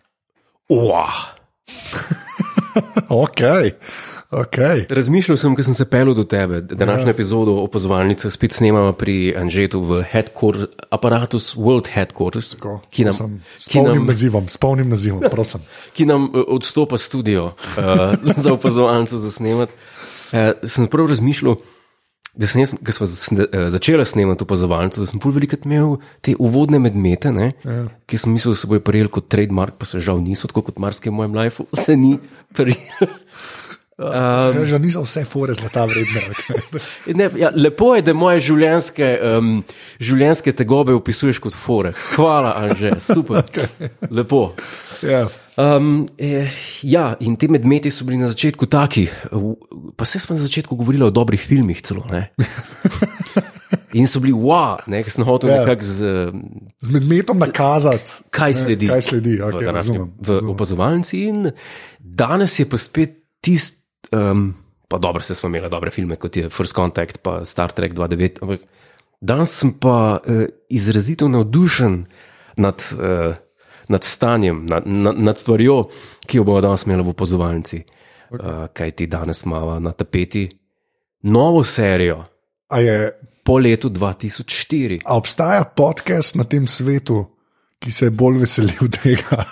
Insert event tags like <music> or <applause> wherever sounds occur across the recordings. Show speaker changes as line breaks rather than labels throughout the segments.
<laughs>
Wow.
ok. Okay.
Razmišljal sem, ko sem se pelil do tebe. Današnjo ja. epizodo opozovalnice spet snemamo pri Anžetu v aparatus World Headquarters,
Tako, ki nam, prosim, s polnim nam, nazivom, s polnim nazivom, prosim.
ki nam eh, odstopa studio uh, za opozovalnico za snemati. Uh, sem prav razmišljal, da sem, jaz, ko smo začeli snemati opazovalnico, da sem bolj velikrat imel te uvodne medmete, ne,
Ja.
ki sem mislil, da se bojo prijeli kot trademark, pa se žal niso, tako kot marsikaj v mojem lifeu, se ni prijel.
<laughs> Um, že niso vse fore zlata vredne. Okay.
Ne, ja, lepo je, da moje življenjske, um, življenjske tegobe opisuješ kot fore. Hvala, Anže,
<laughs>
super. Okay. Lepo.
Ja.
Um, eh, ja, in ti medmeti so bili na začetku taki, v- pa se smo na začetku govorili o dobrih filmih celo.
<laughs>
Ne? In so bili, wow, nekaj sem hotel
Ja.
yeah. nekako z. eh,
Z medmetom nakazati,
kaj sledi.
Ne, kaj sledi, okay,
v, današnjem-
razumem.
v opazovalnici in danes je pa spet tisti, um, pa dobro, se smo imeli dobre filme, kot je First Contact, pa Star Trek 29, ampak danes sem pa uh, izrazito navdušen nad, uh, nad stanjem, nad, nad, nad stvarjo, ki jo bomo danes imeli v opazovalnici. Okay. Uh, kaj ti danes imamo na tapeti? Novo serijo
A, je,
po letu 2004.
a obstaja podcast na tem svetu, ki se je bolj veselil tega?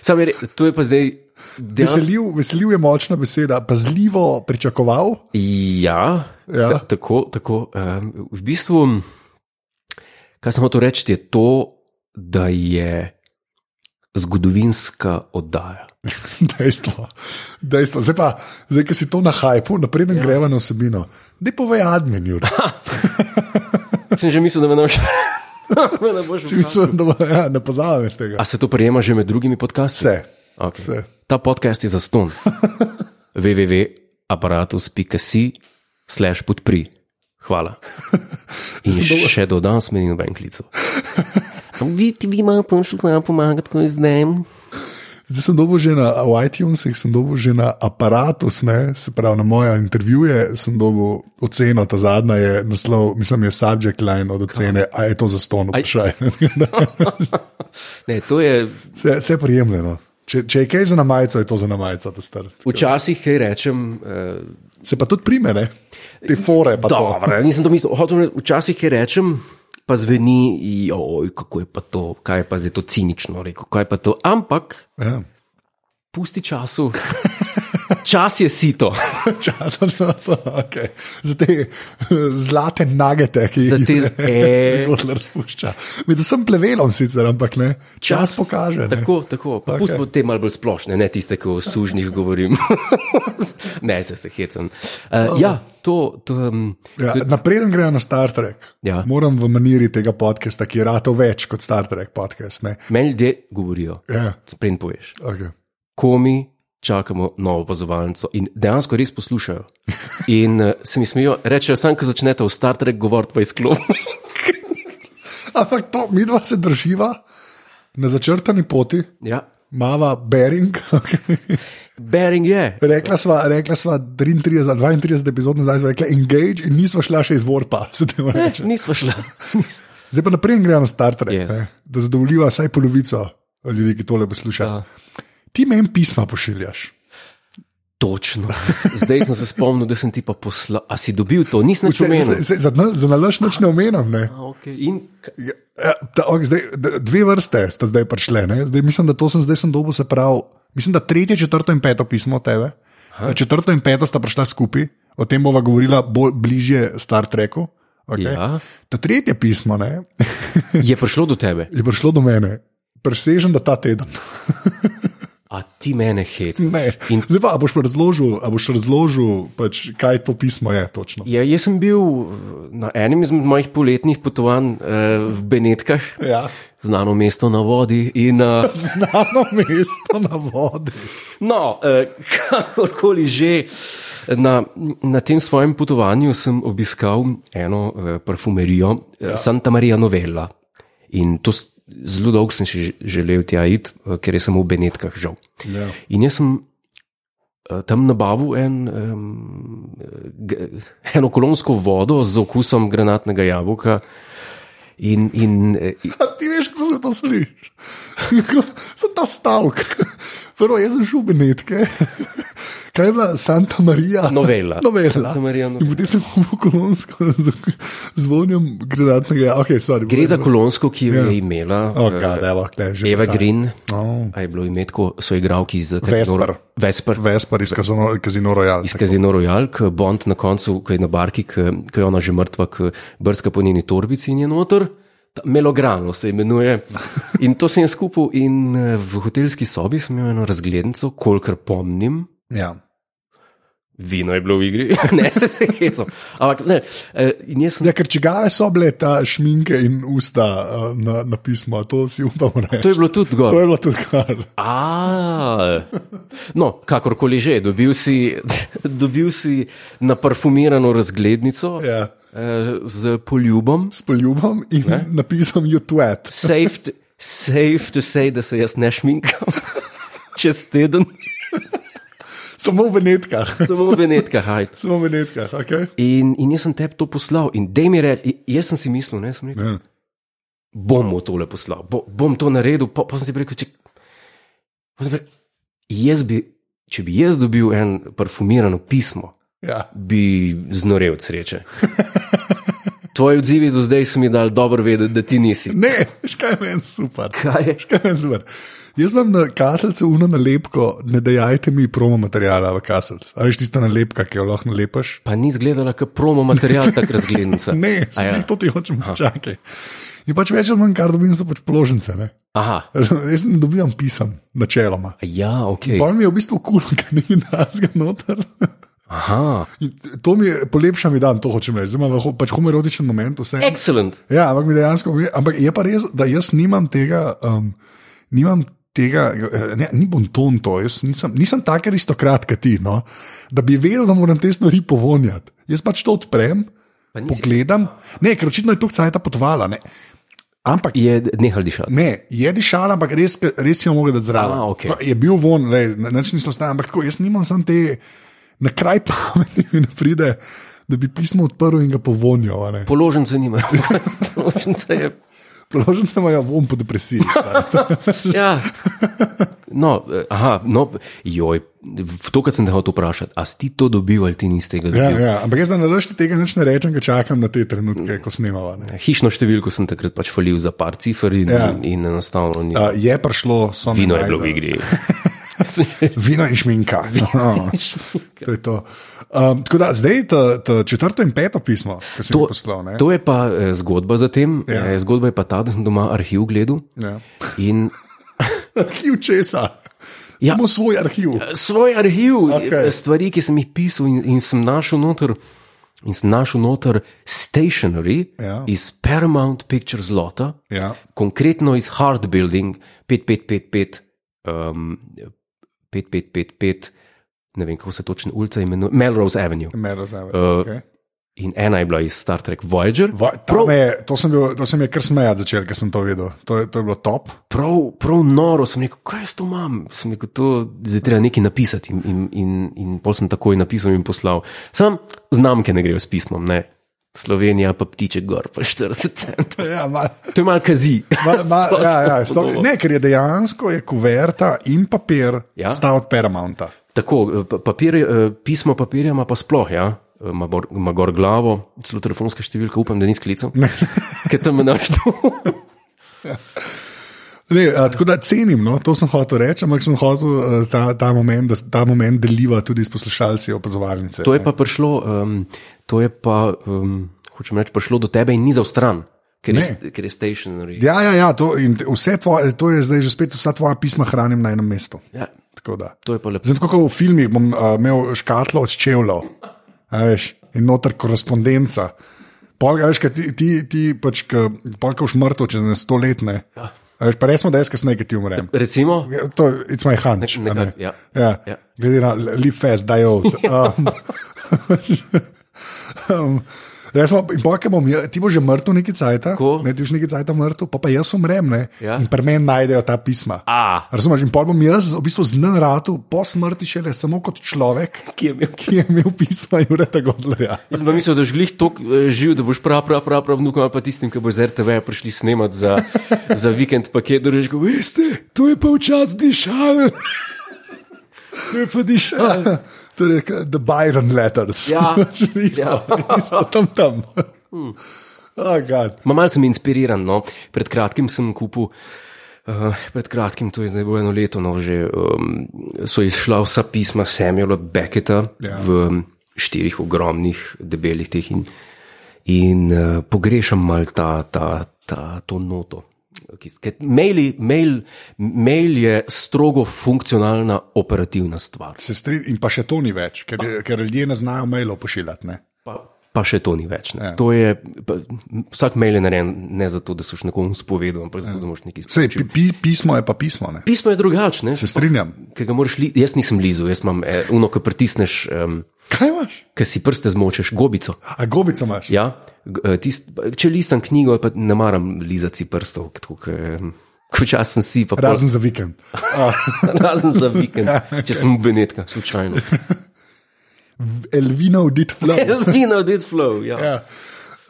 Sam je, re- to je pa zdaj. dejansko-
veselil, veselil je močna beseda, pazljivo pričakoval.
Ja,
Ja.
ja. tako. tako um, v bistvu, kaj sem hotel reči, je to, da je zgodovinska oddaja.
<laughs> Dejstvo. Dejstvo. Zdaj, pa, zdaj, ki si to na hajpu, napreden ja. greva na osebino. Ne povej admin, <laughs>
Sem že mislil, da me ne boš. <laughs> me ne boš vprašal.
mislim, da bo- ja, ne pozavem iz tega.
A se to prejema že med drugimi podcasti?
Vse.
Okay.
Vse.
Ta podcast je za <laughs> ston. www.apparatus.si slash podpri. <laughs> Hvala. In še do danes meni noben klical. <laughs> Vi, ti, vi, malo pomšljite, malo pomagate, ko je zdaj.
Zdaj sem dobil že na v iTunesih, sem dobil že na aparatus, ne? se pravi na moje intervjuje, sem dobil oceno, ta zadnja je naslov, mislim, je subject line od ocene, a je to za ston <laughs> vprašaj.
Ne, to je
Vse vse je prijemljeno. Če, če je kaj za namajico, je to za namajico, ta star.
včasih, kaj rečem. eh,
Se pa tudi prime, ne? Te fore, pa to.
Dobro, nisem to mislil. Hotel, sem reči, včasih, kaj rečem, pa zveni, joj, kako je pa to, kaj je pa zdaj to cinično, rekel, kaj je pa to. Ampak
Ja.
pusti
<laughs>
času. Čas je sito
Čakaj, no, to, okay. Za te eh, zlate nagete, ki
Za
jih
te- eh.
Godler spušča. Med vsem plevelom sicer, ampak ne. Čas, čas pokaže. ne.
Tako, tako. Pa
Okej.
okay. Pustimo te malo bolj splošne, ne tiste, ki o sužnjih govorim. <laughs> ne, se se hecam. Uh, ja, to. to um,
Ja, Napreden grejo na Star Trek.
Ja.
Moram v maniri tega podcasta, ki je rato več kot Star Trek podcast. Ne?
meni ljudje govorijo,
Ja,
sprem poveš.
okay.
ko mi čakamo novo opazovalnico in dejansko res poslušajo. In uh, se mi smejijo, rečejo, sam, ko začnete v Star Trek govoriti, pa izklopi.
Ampak to, mi dva se drživa na začrtani poti,
ja.
mava Bering. <laughs> Okay.
Bering je. Eh,
Rekla sva, rekla sva 33, 32 epizod nazaj, sva rekla engage in nismo šla še iz Vorpa. <laughs> se temu
Eh,
reče.
nisva šla. Nisva.
Zdaj pa naprej gremo na Star Trek,
Yes.
yes. da zadovoljiva vsaj polovico ljudi, ki tole
Ja.
poslušajo. Ti meni pisma pošiljaš. <laughs>
Točno. Zdaj sem se spomnil, da sem ti pa poslal. A si dobil to? Nisem več
Vse-
omenil.
vse- vse- Za, nal- za nalaž nič ne omenjam. Ne.
A, Okay. In k-
Ja, ja, ta, ok, zdaj, d- dve vrste sta zdaj prišle. ne. Zdaj, mislim, da to sem zdaj sem dobil, se pravi. Mislim, da tretje, četrto in peto pismo od tebe. Ha? Četrto in peto sta prišla skupaj, o tem bova govorila bolj bližje Star Treku. Okay.
Ja.
Ta tretje pismo ne, <laughs>
je prišlo do tebe,
je prišlo do mene. Presežen, da ta teden.
a ti mene hec.
Ne.
In-
Zdaj pa, a boš pa razložil, a boš razložil pač, kaj to pismo je točno.
Ja, jaz sem bil na enem izmed mojih poletnih potovanj eh, v Benetkah,
Ja.
znano mesto na vodi. In, eh,
Znano mesto na vodi.
No, eh, kakorkoli že, na, na tem svojem potovanju sem obiskal eno eh, parfumerijo, ja. Santa Maria Novella. In to s- zelo dolgo sem še ž- želel tja iti, eh, ker je samo v Benetkah žal.
Ja.
In jaz sem eh, tam nabavil en, um, eno kolonsko vodo z okusom granatnega jabolka. In, in eh,
A ti veš, kako se to sliši. Tako, sem ta stavek. Prvo, jaz sem šel v Benetke, kaj je bila Santa Maria.
Novela.
Novela.
Santa Maria
In
novela.
potem sem v kolonsko z zvonjem granatnega. Okay, sorry,
Gre za kolonsko, ki jo je imela
Oh,
eh,
God, evo, kle, že
Eva
kaj.
Green.
Oh.
A je bilo ime tako soigralki iz
Vesper.
Vesper.
Vespar iz Kazino, Kazino Royal.
Iz Kazino Royal, ki Bond na koncu, ki je na barki, ki ki je ona že mrtva, ki brska po njeni torbici in je noter. Ta- Melograno se imenuje. In to sem jaz kupil, in eh, v hotelski sobi sem imel eno razglednico, kolikor pomnim.
Ja.
Vino je bilo v igri, <laughs> ne se se hecam. Ampak ne, eh, in jaz sem
ja, ker čigave so bile ta šminke in usta eh, na, na pismo, to si upam
To
reči.
je bilo tudi
To
gor.
je bilo tudi kar.
A, no, kakorkoli že, dobil si, <laughs> dobil si naparfumirano razglednico yeah.
Ja.
eh, z poljubom.
S poljubom in ne? napisom You Twat.
Safe, t- safe to say, da se jaz ne šminkam. <laughs> Čez teden,
Samo v Benetkah.
<laughs> samo v Benetkah. haj.
<laughs> Samo v Benetkah, okay?
In, in jaz sem tebi to poslal, in da mi reče, jaz sem si mislil, ne, sem rekel,
ja.
bom mu tole poslal, bo, bom to naredil, pa, pa sem si rekel, če, pa sem rekel, jaz bi, če bi jaz dobil en parfumirano pismo,
Ja.
bi znorel od sreče. Tvoji odzivi do zdaj so mi dali dobro vedeti, da ti nisi.
Ne, škaj meni super.
Kaj je?
Škaj meni super. Jaz imam na kaselcu uno nalepko, ne dajajte mi promo materijala v kaselcu. A veš tista nalepka, ki jo lahko nalepaš?
Pa ni izgledala kot promo material, tako razglednica.
<laughs> Ne,
A ja.
ja. to ti hočem čakati. In pač več ali manj, kar dobim, so pač položnice. Ne?
Aha,
Jaz ne dobivam pisem, načeloma.
ja, ok.
Pol mi je v bistvu kul, <laughs> cool, ker ni nas ga noter.
Aha,
In to mi je polepša mi dan, to hočem reči. Zdaj imam lahko- pač homoerotičen moment, vse.
E. excellent.
Ja, ampak mi dejansko, ampak je pa res, da jaz nimam tega, um, nimam tega, eh, ne, ni bom ton to, jaz nisem, nisem tak aristokrat, kot ti, no, da bi vedel, da moram te stvari povonjati. Jaz pač to odprem,
Pa nisi-
pogledam, ne, ker očitno je tu cajta potvala. Ne. Ampak
Je nehal dišati.
Ne, je dišala, ampak res, res jo mogel dati zraven.
A, okej.
Pa Je bil von, le, nič nismo stali, ampak tako, jaz nimam sam te, na kraj <laughs> pameti mi ne pride, da bi pismo odprl in ga povonjal. a ne.
Položnice nima. <laughs> Položnice je.
Priložnice imajo von ja po depresiji. <laughs> stari.
Ja. No, eh, aha, no, joj, v to, kar sem te hotel vprašati, a si ti to dobil ali ti nisi tega
ja,
dobil?
ja, ampak jaz na nadaljši tega nič ne rečem, ker čakam na te trenutke, ko snemava. ne.
Hišno številko sem takrat pač falil za par cifr in, ja.
Ja.
in enostavno ni.
Uh, je prišlo, so
Vino je bilo v
<laughs>
igri.
Vino in šminka. <laughs> No, to je to. Um, tako da zdaj ta, ta četrto in peto pismo, ki si to, ga poslal. ne.
to je pa eh, zgodba za tem.
Ja.
Ja. Zgodba je pa ta, da sem doma arhiv gledal
Ja. <laughs>
in eh,
Arhiv česa.
Ja.
Ja. Imamo svoj arhiv.
svoj arhiv, okay.
Okej.
stvari, ki sem jih pisal in, in sem našel noter. In sem našel noter stationery
Ja.
iz Paramount Pictures Lota,
Ja.
konkretno iz Hard Building 5555, um, 5555, ne vem kako se točno ulica imenuje, Melrose Avenue.
Ne razumem.
Eh,
Okay.
In ena je bila iz Star Trek Voyager.
Prav... Me, je- to, sem bil, to sem je kar smejati začel, ker sem to vedel. To, je- to je bilo top.
prav, prav noro, sem rekel, kaj jaz to imam, sem rekel, to zdaj treba nekaj napisati. In, in, in, in pol sem takoj napisal in poslal. Sam znamke ne grejo s pismom, ne. Slovenija pa ptiček gor, pa 40 centov.
Ja, ma,
To je malo kazi.
<laughs> ma, ma, ja, ja,
Sploh-
sploh, ne, ker je dejansko je kuverta in papir
Ja.
ja. sta od Paramounta.
Tako, pa- papir, eh, pismo papirja ima pa sploh, ja. Ima bor- Ima gor glavo, celo telefonska številka, upam, da ni sklical. <laughs> Ker tam imaš to.
Ne, a, tako da cenim, no, to sem hotel reči, ampak sem hotel a, ta, ta moment, da s- ta moment deliva tudi s poslušalci opazovalnice.
To je pa prišlo, um, to je pa, um, hočem reči, prišlo do tebe in ni za stran, ker je,
Ne.
ker je stationary.
Ja, ja, ja to, in vse tvoje, to je zdaj že spet vsa tvoja pisma hranim na enem mestu.
Ja,
Tako da.
to je pa lepo.
Zdaj, tako kot v filmih, bom uh, imel škatlo od čevljev, a veš, in noter korespondenca. Polk, veš, ka ti, ti, ti pač, polk už mrtev, če ne stoletne. Ja. Veš, pa res smo, da jaz kasneje, ki ti umrem.
Recimo,
To je it's my hunch.
Ja. Ne-
a
nekaj,
ne?
ja.
Ja.
Ja.
Ja.
<laughs>
Glede na live fast, die old. <laughs> Um, um, Resmo, in pa, bom, ja, ti bo že mrtev neki cajt,
Tako.
ne ti boš neki cajt mrtev, pa, pa jaz umrem ne,
Ja.
in pri meni najdejo ta pisma.
A,
Razumeš, in pa bom jaz v bistvu znan ratu, po smrti šele samo kot človek,
ki je imel ki.
ki je imel pisma Jureta
<laughs>
Godlerja.
Jaz pa mislim, da boš glih tako eh, živ, da boš prav, prav, prav, prav vnukom ali pa tistim, ki bo z RTV prišli snemati za, za vikend paket, da rečeš, veste, to je pa včasih dišal. <laughs> To je pa dišal.
Torej, k- The Byron Letters. <laughs>
Ja. Hmm.
Pač isto, isto, tam tam. Oh, God.
Ma malce sem inspiriran. No. Pred kratkim sem kupil, uh, pred kratkim, to je zdaj bo eno leto, no, že um, so izšla vsa pisma Samuela Becketa
Ja.
ja. v štirih ogromnih, debelih teh in, in uh, pogrešam mal ta, ta, ta, to noto. ki s- ker Mail, mail, mail je strogo funkcionalna, operativna stvar.
Se strinjam, in pa še to ni več, ker, je- ker ljudje ne znajo mailov pošiljati. Ne?
Pa, pa še to ni več.
Ja.
Ja. To je, pa, vsak mail je narejen ne zato, da si nekomu spovedal, ampak zato, da moš nekaj
Sej,
sporočil.
pi, pi, pismo je pa pismo. Ne?
Pismo je drugačne.
Se strinjam.
Ker ga moraš, li, jaz nisem lizu, jaz imam eh, uno, ki pritisneš, um,
Kaj imaš?
ki si prste zmočeš, gobico.
A gobico imaš?
Ja? G- eh, Tist, če listam knjigo, ali pa ne maram lizati prstov, tako kot včasih sem si, pa pol-
Razen za vikend. A,
<laughs> razen za vikend, če sem v Benetka, slučajno.
Elvina udit
<laughs>
flow.
Elvino did flow. Ja.
Ja.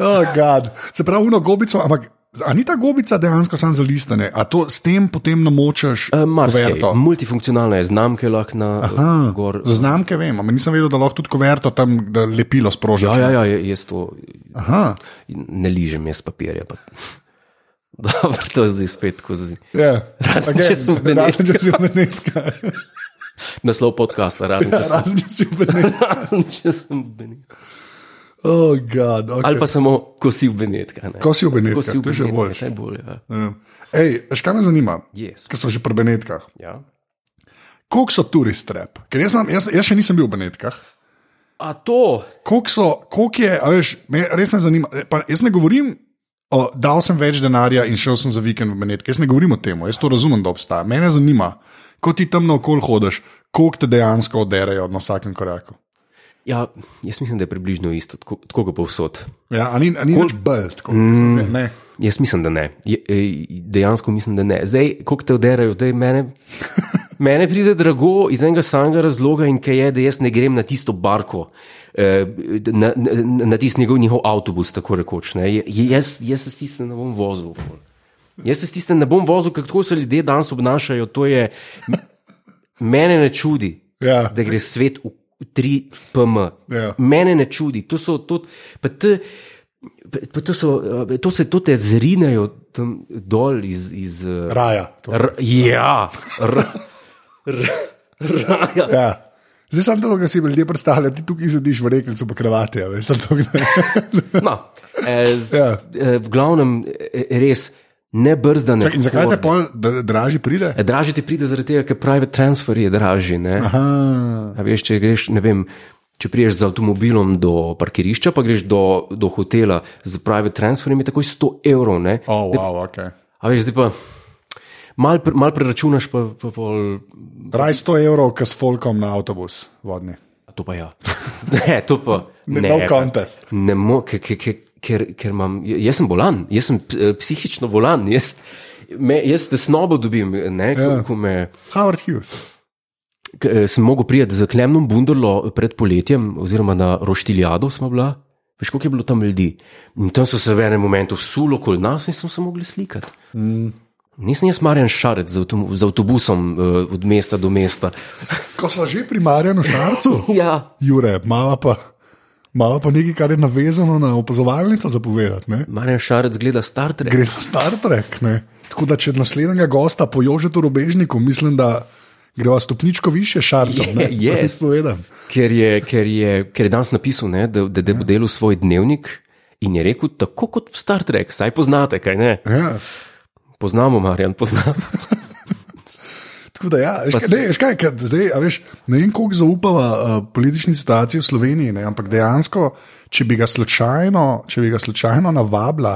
Oh, God. Se pravi, uno gobico, ampak a ni ta gobica dejansko samo za listane, a to s tem potem namočaš
Eh, Marsikaj,
kuverto?
multifunkcionalna je znamke lahko na eh, gor.
Za znamke vem, ampak nisem vedel, da lahko tudi kuverto tam da lepilo sprožiš.
Ja, ja, ja, je- jaz to
Aha,
ne ližem, jaz papirja. Pa. <laughs> Dobro, to je zdaj spet tako. zdaj.
yeah.
Razen, če sem
ja.
v
razen če si v Benetka.
Naslov podcasta, razen če sem,
razen če si v Benetka.
razen, <laughs> če sem v Benetka.
Oh, God. Okay.
Ali pa samo, ko si v Benetka. ne.
Ko si v Benetkah,
Ko si v
ja, to je že
Benetkah,
boljše.
najbolje, ja.
Ja. Ej, veš, kaj me zanima,
Yes.
ker so že pri Benetkah.
Ja.
Koliko so turist trap? Ker jaz, imam, jaz, jaz še nisem bil v Benetkah.
A to,
Koliko so, koliko je, a veš, me, res me zanima. E, Pa, jaz ne govorim, o, dal sem več denarja in šel sem za vikend v Benetke. Jaz ne govorim o tem, jaz to razumem, da obstaja. Mene zanima, ko ti tam naokol hodiš, koliko te dejansko oderejo na vsakem koraku.
ja, jaz mislim, da je približno isto, tako tako kot povsod.
Ja, a ni, a ni nič bolj, tako mm. ne.
Jaz mislim, da ne. Je, e, dejansko mislim, da ne. Zdaj, koliko te oderajo, zdaj
<laughs>
mene. Mene pride drago iz enega samega razloga in kaj je, da jaz ne grem na tisto barko, eh, na, na, na tisti njegov njihov avtobus, tako rekoč. ne. Je- Jaz, jaz se s tistem ne bom vozil. Jaz se s tistem ne bom vozil, ker tako se ljudje danes obnašajo. To je, mene ne čudi,
Ja.
da gre svet v 3 pm.
Ja.
Mene ne čudi, to so to. Pa te, pa- pa to, so, eh, to se to te zrinajo tam dol iz. iz eh,
Raja. to.
r, ja, r, r, raja.
Ja. Zdaj sem to, kar si ljudje predstavljajo, ti tukaj sediš v rekelcu pa kravate, a veš, sem to.
No, eh, z,
Ja.
eh, v glavnem, eh, res ne brzdane.
In zakaj te pol da- dražji pride?
Dražje ti pride zaradi tega, ker private transfer je dražji. ne.
Aha,
A veš, če greš, ne vem, če priješ z avtomobilom do parkirišča, pa greš do, do hotela z private transferjem, je takoj 100 evrov. ne.
oh, wow, okay.
A veš, zdaj pa mal, pre- mal preračunaš, pa, pa pol.
Raj 100 evrov, ki s folkom na avtobus vodni.
A to pa ja. <laughs> Ne, to pa.
Ne,
Ne,
no contest.
Ne, mo, ke, ke, ke, ker, ker imam, jaz sem bolan, jaz sem eh, psihično bolan, jaz, me, jaz te snobo dobim, ne,
Ja.
ko, ko me.
Howard Hughes.
K- eh, sem mogel priti z klemnom bunderlo pred poletjem, oziroma na Roštiljado smo bila. Veš, koliko je bilo tam ljudi. In tam so se v enem momentu sulo okoli nas in sem se mogli slikati. Mm. Nisem jaz Marjan Šarec z, avtom, z avtobusom uh, od mesta do mesta.
Ko so že pri Marjanu Šarcu, <laughs>
Ja,
Jure, mala pa, mala pa nekaj, kar je navezano na opazovalnico za povedati. ne.
Marjan Šarec gleda Star Trek.
Gre na Star Trek. Ne? Tako da, če naslednjega gosta pojožete v robežniku, mislim, da greva stopničko više Šarcu.
Je, yes.
<laughs> Seveda.
Ker je, ker je, ker je danes napisal, ne, da, da, da
Ja.
bo delal svoj dnevnik in je rekel, tako kot v Star Trek, saj poznate, kaj ne.
Ja.
Poznamo, Marjan, poznamo.
<laughs> Tako da, ja, veš, kaj, ne, veš kaj, ker zdaj, a veš, ne vem, koliko zaupava uh, politični situaciji v Sloveniji, ne, ampak dejansko, če bi ga slučajno, če bi ga slučajno navabila,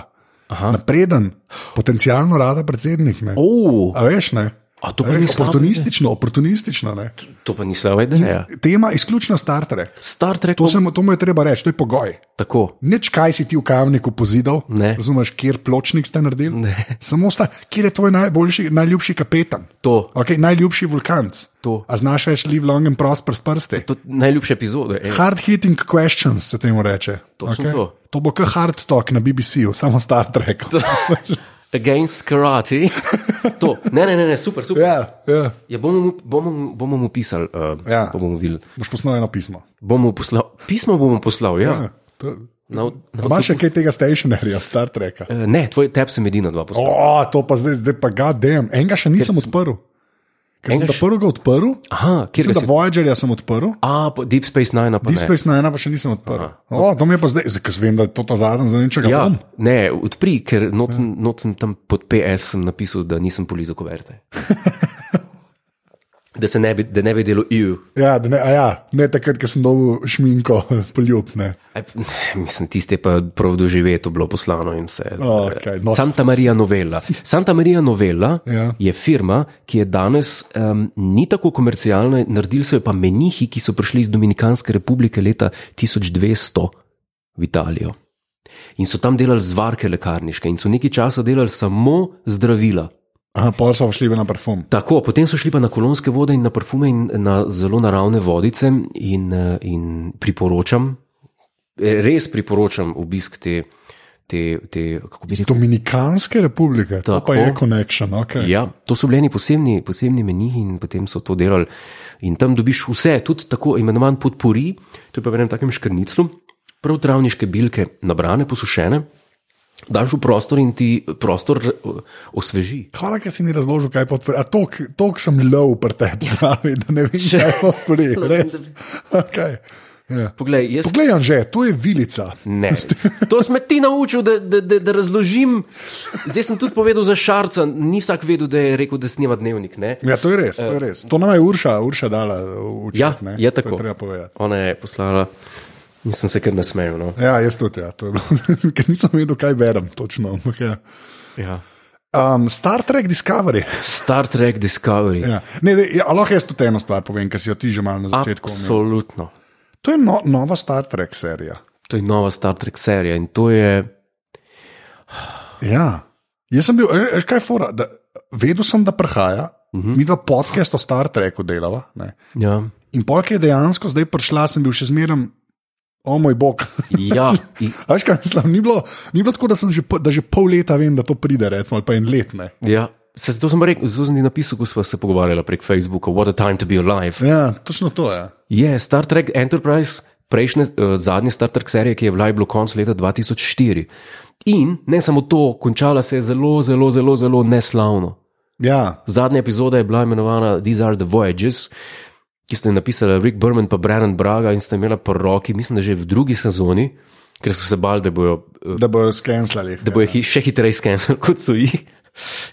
Aha.
napreden, potencialno rada predsednik. Ne,
Oh,
a veš, ne.
A to pa ni
Reš,
slaba
oportunistično, oportunistično. ne.
ideja. To pa ni slaba ideja.
Tema izključno Star Trek.
Star Trek
To,
je
se, mu- to mu je treba reči, to je pogoj.
tako.
Nič, kaj si ti v kamniku pozidal,
Ne.
razumeš, kjer pločnik ste naredili.
Ne.
Samo sta, kjer je tvoj najboljši, najljubši kapetan,
To.
okay, najljubši vulkanc.
To.
A znaš reči live long and prosper s prsti.
To je najljubša epizoda. ej.
<laughs> Hard hitting questions se temu reče.
Točno to.
to bo kot hard talk na BBC-ju, samo Star Trek.
Against karate. To. Ne, ne, ne, ne, super, super.
ja, ja.
Ja, bomo, mu- bomo, mu- bomo mu pisali, uh,
Ja.
ja. bomo, mu videli.
Boš poslal eno pismo.
bomo mu poslali, pismo bomo poslali. Ja. Ja. Na, od- na,
Imaš še kaj tega stationarja, Star Treka?
eh, ne, tvoj tep sem edina dva poslala.
O, to pa zdaj, zdaj pa ga dem. Enega še nisem odprl. Ker sem
Enega
ta prvega odprl,
Aha, kjer
Mislim,
ga
da
si?
Voyagerja sem odprl,
A, po Deep Space Nine, pa
Deep
ne.
Space Nine pa še nisem odprl. O, to mi je pa zdaj, zdaj ker vem, da je to ta zadnji, za nečega
Ja,
bom.
ne, odpri, ker nocem, nocem tam pod PS sem napisal, da nisem polizal koverte. Da, se ne bi, da ne bi delo EU.
Ja, da ne, a ja, ne takrat, ko sem dobil šminko, <laughs> poljub. Ne.
Aj, Mislim, tiste pa prav doživeto bilo poslano in vse.
Okej, no.
Santa Maria Novella. Santa Maria Novella
Ja.
je firma, ki je danes um, ni tako komercialna, naredili so jo pa menihi, ki so prišli iz Dominikanske republike leta 1200 v Italijo. In so tam delali zvarke lekarniške in so nekaj časa delali samo zdravila.
Aha, pol so šli v na parfum.
Tako, potem so šli pa na kolonske vode in na parfume in na zelo naravne vodice, in, eh, in priporočam, eh, res priporočam obisk te, te, te kako bi
Iz
rekel.
Dominikanske republike, to
Tako.
pa je konekšen. Okay.
Ja, to so bili eni posebni, posebni meniji in potem so to delali. In tam dobiš vse, tudi tako imenovan podpori, to je pa v enem takem škrniclu, prav travniške bilke, nabrane, posušene, daš v prostor in ti prostor eh, osveži.
Hvala, ker si mi razložil, kaj podpori. A to, to sem lov pri tebi, pravi, da <laughs> ne vem, kaj podpori. Res. Okay. Ja.
Poglej, jaz
Poglej, Anže, to je vilica.
Ne.
<laughs>
To si me ti naučil, da, da, da, da razložim. Zdaj sem tudi povedal za šarca. Ni vsak vedel, da je rekel, da snima dnevnik. Ne?
Ja, to je res, to je res. To nam je Urša, Urša dala v
Ja,
čat, ne.
je
To
tako.
treba povedati.
Ona je poslala in sem se kar nasmejal. No.
Ja, jaz tudi, ja. to je bilo, <laughs> ker nisem vedel, kaj berem točno. ampak Ja.
Ja.
Um, Star Trek Discovery.
Star Trek Discovery.
Ja.
Ja.
Ne, ne, ja, a lahko jaz tudi eno stvar povem, ker si jo ti že malo na začetku omenil.
Absolutno.
To je no, nova Star Trek serija.
To je nova Star Trek serija in to je.
Ja. Jaz sem bil, a veš kaj je fora, da, vedel sem, da prihaja, uh
Mhm.
-huh. mi dva podcast o Star Treku delava. Ne.
Ja,
In polk je dejansko zdaj prišla, sem bil še zmeraj, o moj bog. <laughs>
ja. i-
A Veš kaj, mislim, ni bilo, ni bilo tako, da, sem že, po- da že pol leta vem, da to pride, recimo, ali pa en let. Ne.
ja. Se, zato sem rekel, zelo sem ti napisal, ko smo se pogovarjali prek Facebooka, What a time to be alive.
Ja, točno to je. Ja.
Je Star Trek Enterprise, prejšnje, uh, zadnje Star Trek serije, ki je bila, je bilo konc leta 2004. In ne samo to, končala se je zelo, zelo, zelo, zelo neslavno.
Ja,
Zadnja epizoda je bila imenovana These Are the Voyages, ki sta jo napisala Rick Berman in Brennan Braga in sta imela po roki, mislim, da že v drugi sezoni, ker so se bali, da bojo, uh,
da bojo skenslali.
da bojo hi, še hitreje skenirali, <laughs> kot so jih.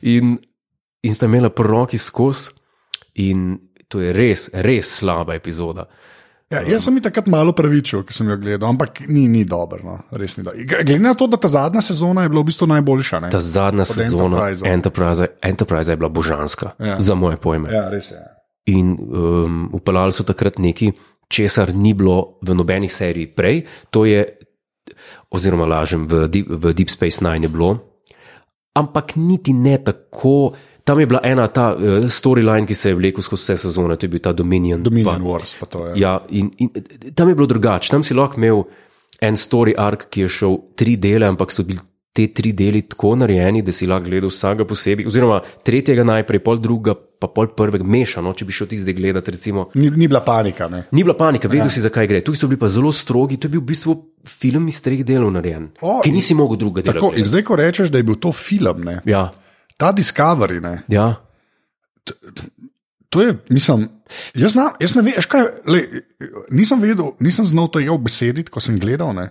In, in sta imela po roki skozi, in to je res, res slaba epizoda.
Ja, jaz sem jih takrat malo pravičil, ker sem jo gledal, ampak ni, ni dobro. No, res ni dobro. G- Glede na to, da ta zadnja sezona je bila v bistvu najboljša. Ne?
Ta zadnja sezona
Enterprisea.
Enterprise, Enterprise je bila božanska,
Ja.
ja. za moje pojme. Ja.
Ja, res je.
In um, upeljali so takrat nekaj, česar ni bilo v nobenih seriji prej. To je, oziroma lažem, v Deep, v Deep Space Nine je bilo, ampak niti ne tako. Tam je bila ena ta uh, storyline, ki se je vlekel skozi vse sezone, to je bil ta Dominion.
Dominion Wars pa to je.
Ja, in, in tam je bilo drugače. Tam si lahko imel en story arc, ki je šel tri dele, ampak so bili te tri deli tako narejeni, da si lahko gledal vsakega posebej, oziroma tretjega najprej, pol drugega, pa pol prvega mešano, no, če bi šel ti zdaj gledati. Recimo.
Ni, ni bila panika. Ne?
Ni bila panika, vedel ja. si, zakaj gre. Tukaj so bili pa zelo strogi, to je bil v bistvu film iz treh delov narejen,
O,
o, ki
in-
nisi mogel drugega dela.
Tako, in
gledati.
zdaj, ko rečeš, da je bil to film, ne?
Ja,
ta Discovery, ne?
ja.
to je, mislim, jaz, znam, jaz ne vem, veš kaj, le, nisem vedel, nisem znal tega obesediti, ko sem gledal. Ne?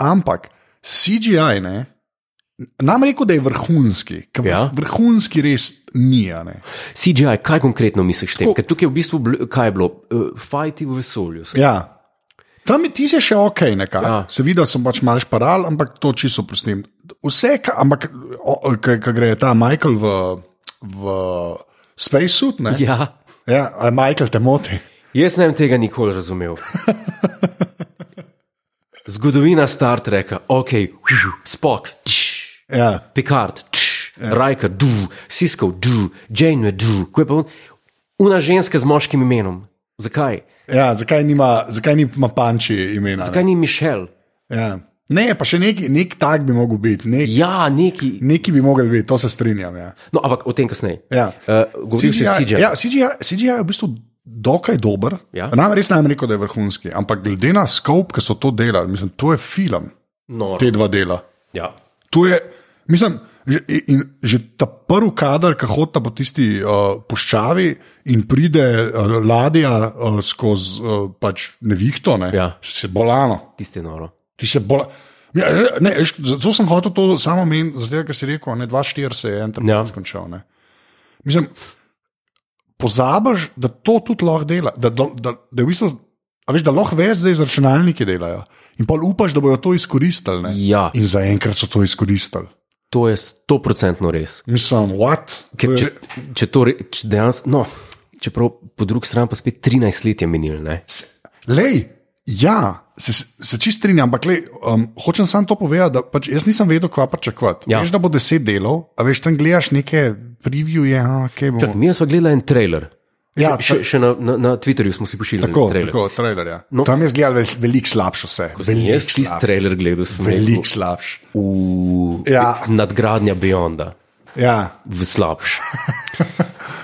Ampak CGI, ne, nam rekel, da je vrhunski, ker
Ja.
vrhunski res ni. a Ne?
CGI, kaj konkretno misliš s tem?
Tako.
Ker tukaj je v bistvu, bl- kaj je bilo, uh, fajti v vesolju. so
Ja. Tam je ti se še ok, nekako. Ja.
Ja.
Seveda sem pač malš paral, ampak to čisto prostim. Vse, ka, ampak, o- o, ko ko gre ta Michael v, v Spacesuit, ne?
Ja,
Ja, a Michael te moti.
jaz ne bi tega
<laughs>
nikoli razumel. Zgodovina Star Treka, ok, spok,
Ja.
Picard, Rajka, du, Sisko, du, Jane, du, ko je pa un- una ženska z moškim imenom. Zakaj?
Ja, zakaj, nima, zakaj nima panči imena?
Zakaj ni Mišel?
Ja. Ne, pa še neki, nek tak bi mogel biti, nek,
Ja, neki.
neki bi mogel biti, to se strinjam. Ja.
No, ampak o tem kasneje.
Ja.
Uh, Govoril si o CJ.
Ja, CGI, CGI je v bistvu dokaj dober.
Ja.
Nam res ne bi rekel, da je vrhunski, ampak glede na skop, ki so to delali, mislim, to je film,
Noro.
te dva dela.
Ja.
To je, mislim, že, in, že ta prvi kader, ki hodi po tisti uh, puščavi in pride uh, ladja uh, skozi uh, pač nevihto, ne,
Ja.
se bolano.
Tisti je noro.
Ti se bolj. Ja, ne, veš, zato sem hotel to samo meniti, zato ker si rekel, ne, 2-4 se je en trenutek
Ja.
ja. skončal. Ne. Mislim, pozabiš, da to tudi lahko dela, da, da, da, da, v bistvu, a veš, da lahko veš, da z računalniki delajo. In pa upaš, da bodo to izkoristili. Ne.
Ja,
In zaenkrat so to izkoristili.
to je stoprocentno res.
Mislim, what?
Ker če, če to re- če dejansko, no, čeprav po drugi strani pa spet 13 let je minil, ne?
Lej, ja, se, se čist strinjam, ampak lej, um, hočem samo to povedati, da pač jaz nisem vedel, kva pričakovati.
Ja.
Ja. Veš, da bo deset delov, a veš, tam gledaš neke previewje, a, kaj bo.
Mi smo gledali en trailer.
Ja,
še, še na, na, na Twitterju smo si pošiljali
tako,
trailer.
tako, trailer, ja.
No.
no. Tam je gledal vel, veliko slabše vse. Veliko
Jaz tisti
slabše.
trailer gledal sem
Veliko slabše.
v
Ja.
nadgradnja Beyonda.
Ja.
v slabš.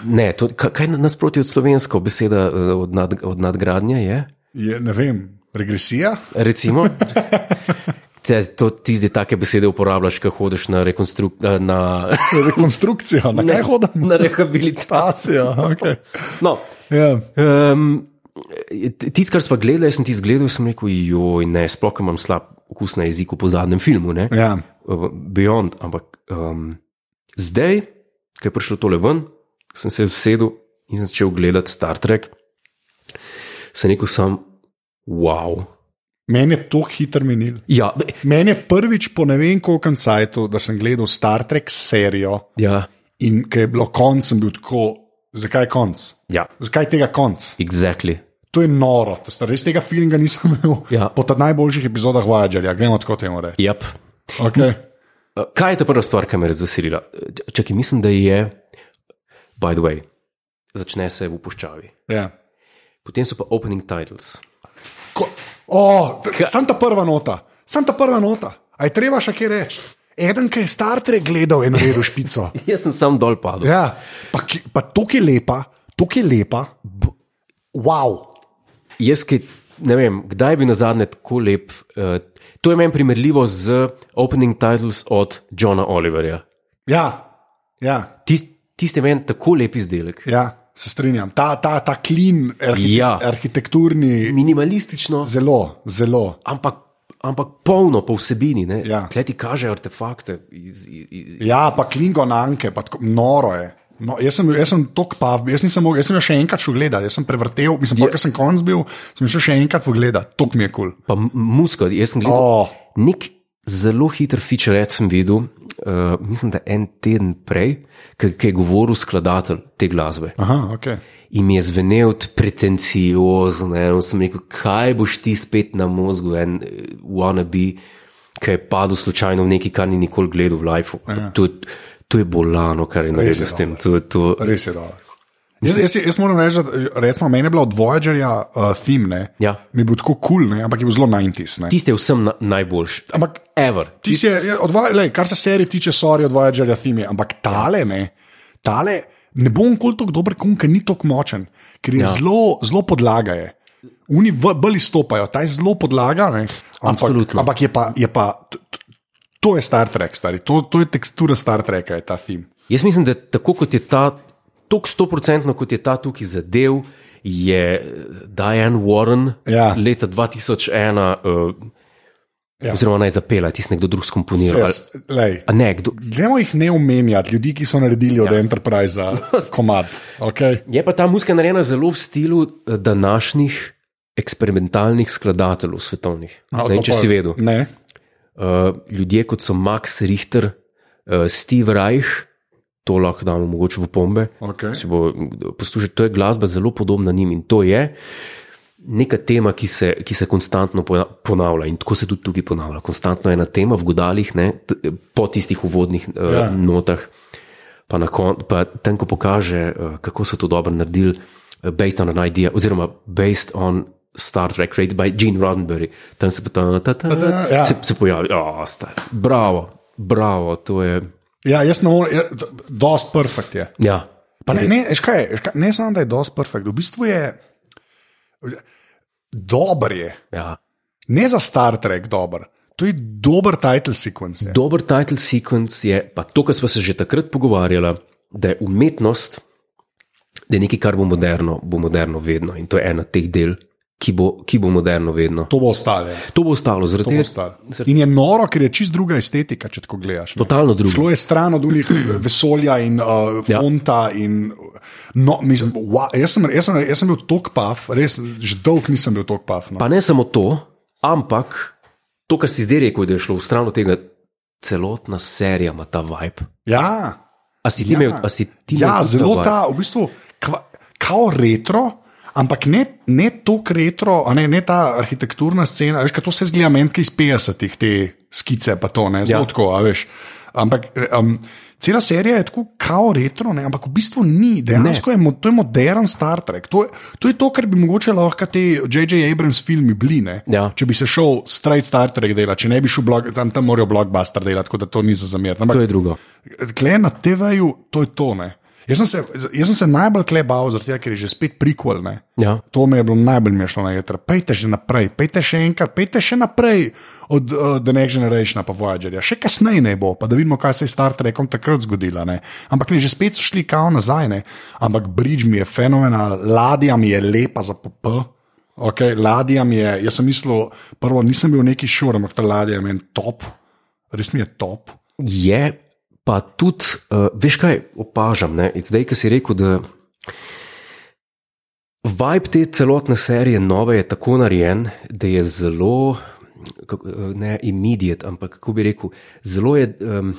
Ne, to, ka- kaj je nasprotje od slovensko beseda eh, od, nad, od nadgradnje je?
Je, ne vem, regresija? <laughs>
Recimo, te, to, ti zdaj take besede uporabljaš, ko hodiš na rekonstrukcijo, na,
Rekonstrukcija, na kaj Ja, hodim?
<laughs> na rehabilitacijo.
Stacija, okay.
No,
ja.
um, Tisto, kar smo gledali, jaz sem ti zgledal in sem rekel, joj, ne, sploh ker imam slab okus na jeziku po zadnjem filmu. Ne?
ja.
uh, Beyond, ampak um, zdaj, ki je prišlo tole ven, sem se usedel in sem začel gledati Star Trek, sem rekel sam, wow.
Meni je to hitro minil.
Ja, be-
Meni je prvič po ne vem koliko cajtu, da sem gledal Star Trek serijo.
ja,
In ker je bilo konc, sem bil tako, zakaj konc?
ja,
Zakaj tega konc?
exactly.
To je noro, to sta- res tega feelinga nisem <laughs> imel
Ja.
po teh najboljših epizodah Voyagerja, gremo tako temu reči.
Yep. Eh,
Okay.
Kaj je ta prva stvar, ki me je razveselila? Eh, Čakaj, mislim, da je, by the way, začne se v puščavi.
Ja.
Potem so pa opening titles.
Ko- O, t- Sam ta prva nota, sam ta prva nota. A je treba še kaj reči? Eden, ki je Star Trek gledal, je naredil
<laughs>
špico.
Jaz sem sam dol padel.
Ja. Pa, ki- pa to, ki je lepa, to, ki je lepa. Wow.
Jaz, ki ne vem, kdaj bi na zadnje tako lep. Uh, to je meni primerljivo z opening titles od Johna Oliverja.
Ja, ja,
Tis- Tisti je meni tako lep izdelek.
ja se strinjam. Ta, ta, ta klin, arhi
Ja.
ja. arhitekturni.
Minimalistično,
Zelo, zelo.
ampak, ampak polno po vsebini. ne.
Ja.
Tle ti kaže artefakte. Iz, iz, iz.
Ja, pa klingonanke, pa tako noro je. No, jaz sem, bil- jaz sem tok pav, jaz nisem mogel, jaz sem jo še enkrat šel gledati, jaz sem prevrtel, mislim, yeah. ker sem konc bil, sem jo šel še enkrat pogledati, tok mi je kul. Cool.
Pa m- muska, jaz sem gledal.
Oh,
Nek zelo hiter featurec sem videl, uh, mislim, da en teden prej, ki ki je govoril skladatelj te glasbe.
aha, ok.
In mi je zvenel t- pretenciozno, eno sem rekel, kaj boš ti spet na možgu, en eh, wannabe, ki je padel slučajno v nekaj, kar ni nikoli gledal v lifeu.
Ja.
To, je- to je bolano, kar je naredil s
no.
tem. To, je- to,
Res je dobro. Jaz, jaz, jaz moram reči, da recimo, meni je bila od Voyagerja uh, theme,
Ja.
mi je bil tako kul, cool, ne, ampak je bil zelo 90s. ne.
tiste je vsem na, najboljši.
Ampak
Ever.
Ti si, je- je- od Voy- lej, kar se serije tiče, sorry, od Voyagerja Thime, ampak tale ne, tale ne bom kol tako dober, kun, ker ni tako močen, ker je ja. zelo, zelo podlaga. Je. Oni v- bolj izstopajo, ta je zelo podlaga. Ne, ampak,
Absolutno.
ampak je pa, je pa t- t- to je Star Trek, stari, to, to je tekstura Star Treka, je ta film.
Jaz mislim, da tako kot je ta, tako stoprocentno kot je ta tukaj zadev, je eh, Diane Warren
Ja.
leta 2001, uh, ja.
Ja.
oziroma naj zapela, tisti nekdo drug skomponiral. ali-
Lej,
Ja, A ne, kdo,
Gremo jih ne omenjati, ljudi, ki so naredili od ja. Enterprisea
<laughs>
komad. Okay?
Je pa ta muzika narejena zelo v stilu eh, današnjih eksperimentalnih skladateljev svetovnih.
A,
ne, vem,
to
če
pa-
si vedel. Eh,
Ne.
Uh, ljudje kot so Max Richter, uh, Steve eh, Reich, to lahko damo mogoče v pombe.
Okej.
Si Bo, eh, poslušaj, to je glasba zelo podobna njim in to je neka tema, ki se, ki se konstantno pona- ponavlja in tako se tudi tukaj ponavlja. Konstantno je ena tema v godalih, ne, t- po tistih uvodnih uh,
Ja.
ja. notah, pa, na kon, pa tam, ko pokaže, uh, kako so to dobro naredili, uh, based on an idea, oziroma based on. Star Trek, created by Gene Roddenberry, tam se pa ta, ta, ta, ta,
Ja.
ja. se, se pojavi, oh, star. Bravo, bravo, to je.
Ja, jaz ne morem, ja, d- dost perfekt je.
Ja,
Pa ne, ne, veš kaj, je, veš kaj, ne samo, da je dost perfekt, v bistvu je dober je.
ja.
Ne za Star Trek dober, to je dober title sequence. ja. je.
Dober title sequence je pa to, kar smo se že takrat pogovarjali, da je umetnost, da je nekaj, kar bo moderno, bo moderno vedno. In to je ena teh del, ki bo, ki bo moderno vedno.
To bo ostalo. je.
To bo ostalo,
To
zaradi
bo
tega
ostalo.
zaradi-
In je noro, ker je čist druga estetika, če tako gledaš. ne.
totalno drugo.
Šlo je stran od <clears throat> unih vesolja in uh,
Ja.
fonta. In, no, mislim, wow, jaz, sem, jaz, sem, jaz sem bil tok pav, res že dolg nisem bil tok pav. No.
Pa ne samo to, ampak to, kar si zdaj rekel, da je šlo v stran od tega, celotna serija ima ta vibe.
Ja,
A si ti imel, a si ti
ja
imel tudi
zelo
vibe?
ta, v bistvu, kva, kao retro. Ampak ne, ne to retro, a ne, ne ta arhitekturna scena, veš, kaj to se zgleda meni, ki iz 50-ih te skice, pa to ne, zelo
Ja.
ja. tako, a veš. Ampak um, cela serija je tako kao retro, ne, ampak v bistvu ni, dejansko je, mo- to je modern Star Trek. To je, to je to, kar bi mogoče lahko te J.J. Abrams filmi bili, ne.
Ja.
Če bi se šel straight Star Trek delati, če ne bi šel blog, tam, tam morajo blockbuster delati, tako da to ni za zamer. Ampak
To je drugo.
Kle na TV-ju, to je to. Ne. Jaz sem se, jaz sem se najbolj klebal, zaradi tega, ker je že spet prikol. Ne.
Ja.
To me je bilo najbolj mešano na jeter. Pejte že naprej, pejte še enkrat, pejte še naprej od uh, The Next Generation pa Voyagerja. Še kasneje ne bo, pa da vidimo, kaj se je s Star Trekom takrat zgodilo. Ne. Ampak ne, že spet so šli kao nazaj. Ne. Ampak bridge mi je fenomenal, ladja mi je lepa za PP. Okay, ladja mi je, jaz sem mislil, prvo nisem bil neki šur, ampak ta ladja je meni top, res mi je top.
Je pa tudi, uh, veš kaj opažam, ne? in zdaj, ki si rekel, da vibe te celotne serije nove je tako narejen, da je zelo, kako, eh, ne immediate, ampak kako bi rekel, zelo je um,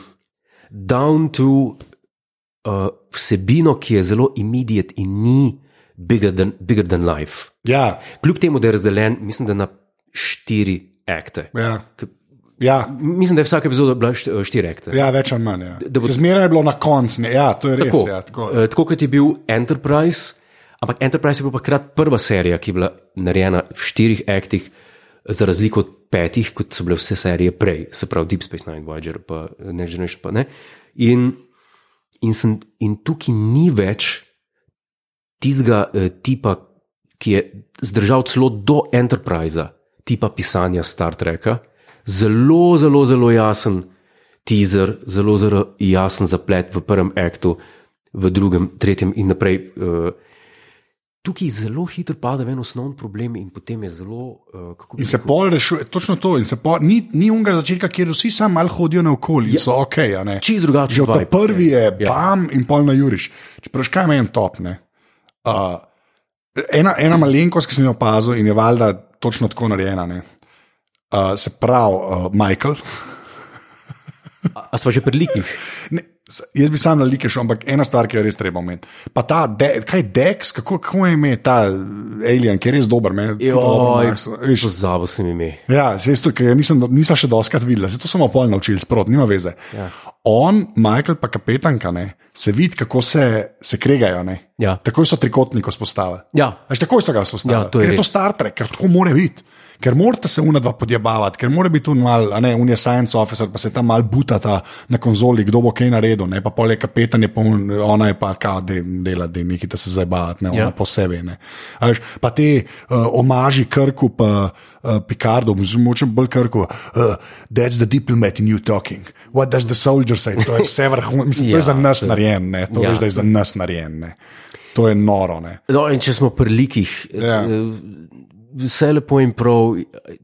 down to uh, vsebino, ki je zelo immediate in ni bigger than, bigger than life.
Ja,
Kljub temu, da je razdeljen, mislim, da na štiri akte.
ja. ja.
Mislim, da je vsaka epizoda bila št- eh, štiri akte.
Ja, več ali manj. Ja.
da bo-
Še Zmeraj je bilo na koncu. ne. Ja, to je res.
Tako,
Ja, tako.
eh, tako kot je bil Enterprise, ampak Enterprise je bil takrat prva serija, ki je bila narejena v štirih aktih, za razliko od petih, kot so bile vse serije prej, se pravi Deep Space Nine, Voyager, pa eh, Next Generation. Pa ne. in, in, sem, in tukaj ni več tistega eh, tipa, ki je zdržal celo do Enterprisa, tipa pisanja Star Treka. Zelo, zelo, zelo jasen teaser, zelo, zelo jasen zaplet v prvem aktu, v drugem, tretjem in naprej. eh, Tukaj zelo hitro pade v en osnovni problem, in potem je zelo. eh, kako bi
In se
rekel,
pol rešuje, točno to. in se Pol, ni ni unega začetka, kjer vsi samo malo hodijo naokoli. Ja. So ok, a ne.
Čisto drugačen
Že od ta
vibe.
prvi je
Ja.
bam in pol na Juriš. Čeprav škaj meni topne. Uh, ena, ena malenkost, ki sem jo opazil in je valjda točno tako narejena. ne. Uh, se pravi, uh, Michael.
A, a smo že pri likih?
Ne, s- jaz bi sam na like šel, ampak ena stvar, ki jo res treba omeniti. Pa ta, de, kaj je Dex, kako, kako je ime ta eh, Alien, ki je res dober, meni. tudi dobro
Joj,
Max- veš,
pozabil sem ime.
Ja, saj jaz to, ker ga nisem, do- nisem še doskrat videl, se to samo pol naučil, sprot, nima veze. Ja. On, Michael, pa kapetanka, ne, se vidi, kako se, se kregajo. Ne.
Ja.
Takoj so trikotnik vzpostavili.
Ja,
Až takoj so ga vzpostavili.
Ja, to je
ker je to
res.
Star Trek, ker tako mora biti. Ker morate se unadva podjebavati, ker mora biti un mal, a ne, un je science officer, pa se tam mal butata na konzoli, kdo bo kaj naredil, ne, pa pol je kapetan, je pa un, ona je pa kao de, dela, da neki da se zdaj bavati, ne, ona
Ja.
ja. posebej. Ne. A Veš, pa te uh, omaži Krku, pa uh, Picardu, moče bolj Krku, uh, that's the diplomat in you talking. What does the soldier say? To je vse vrhunsko, mislim, to je
<laughs> Ja,
za nas narejen, ne, to
Ja.
ja. veš, da je za nas narejen, ne. To je noro, ne.
No, in če smo pri likih,
Ja.
ja. vse lepo in prav,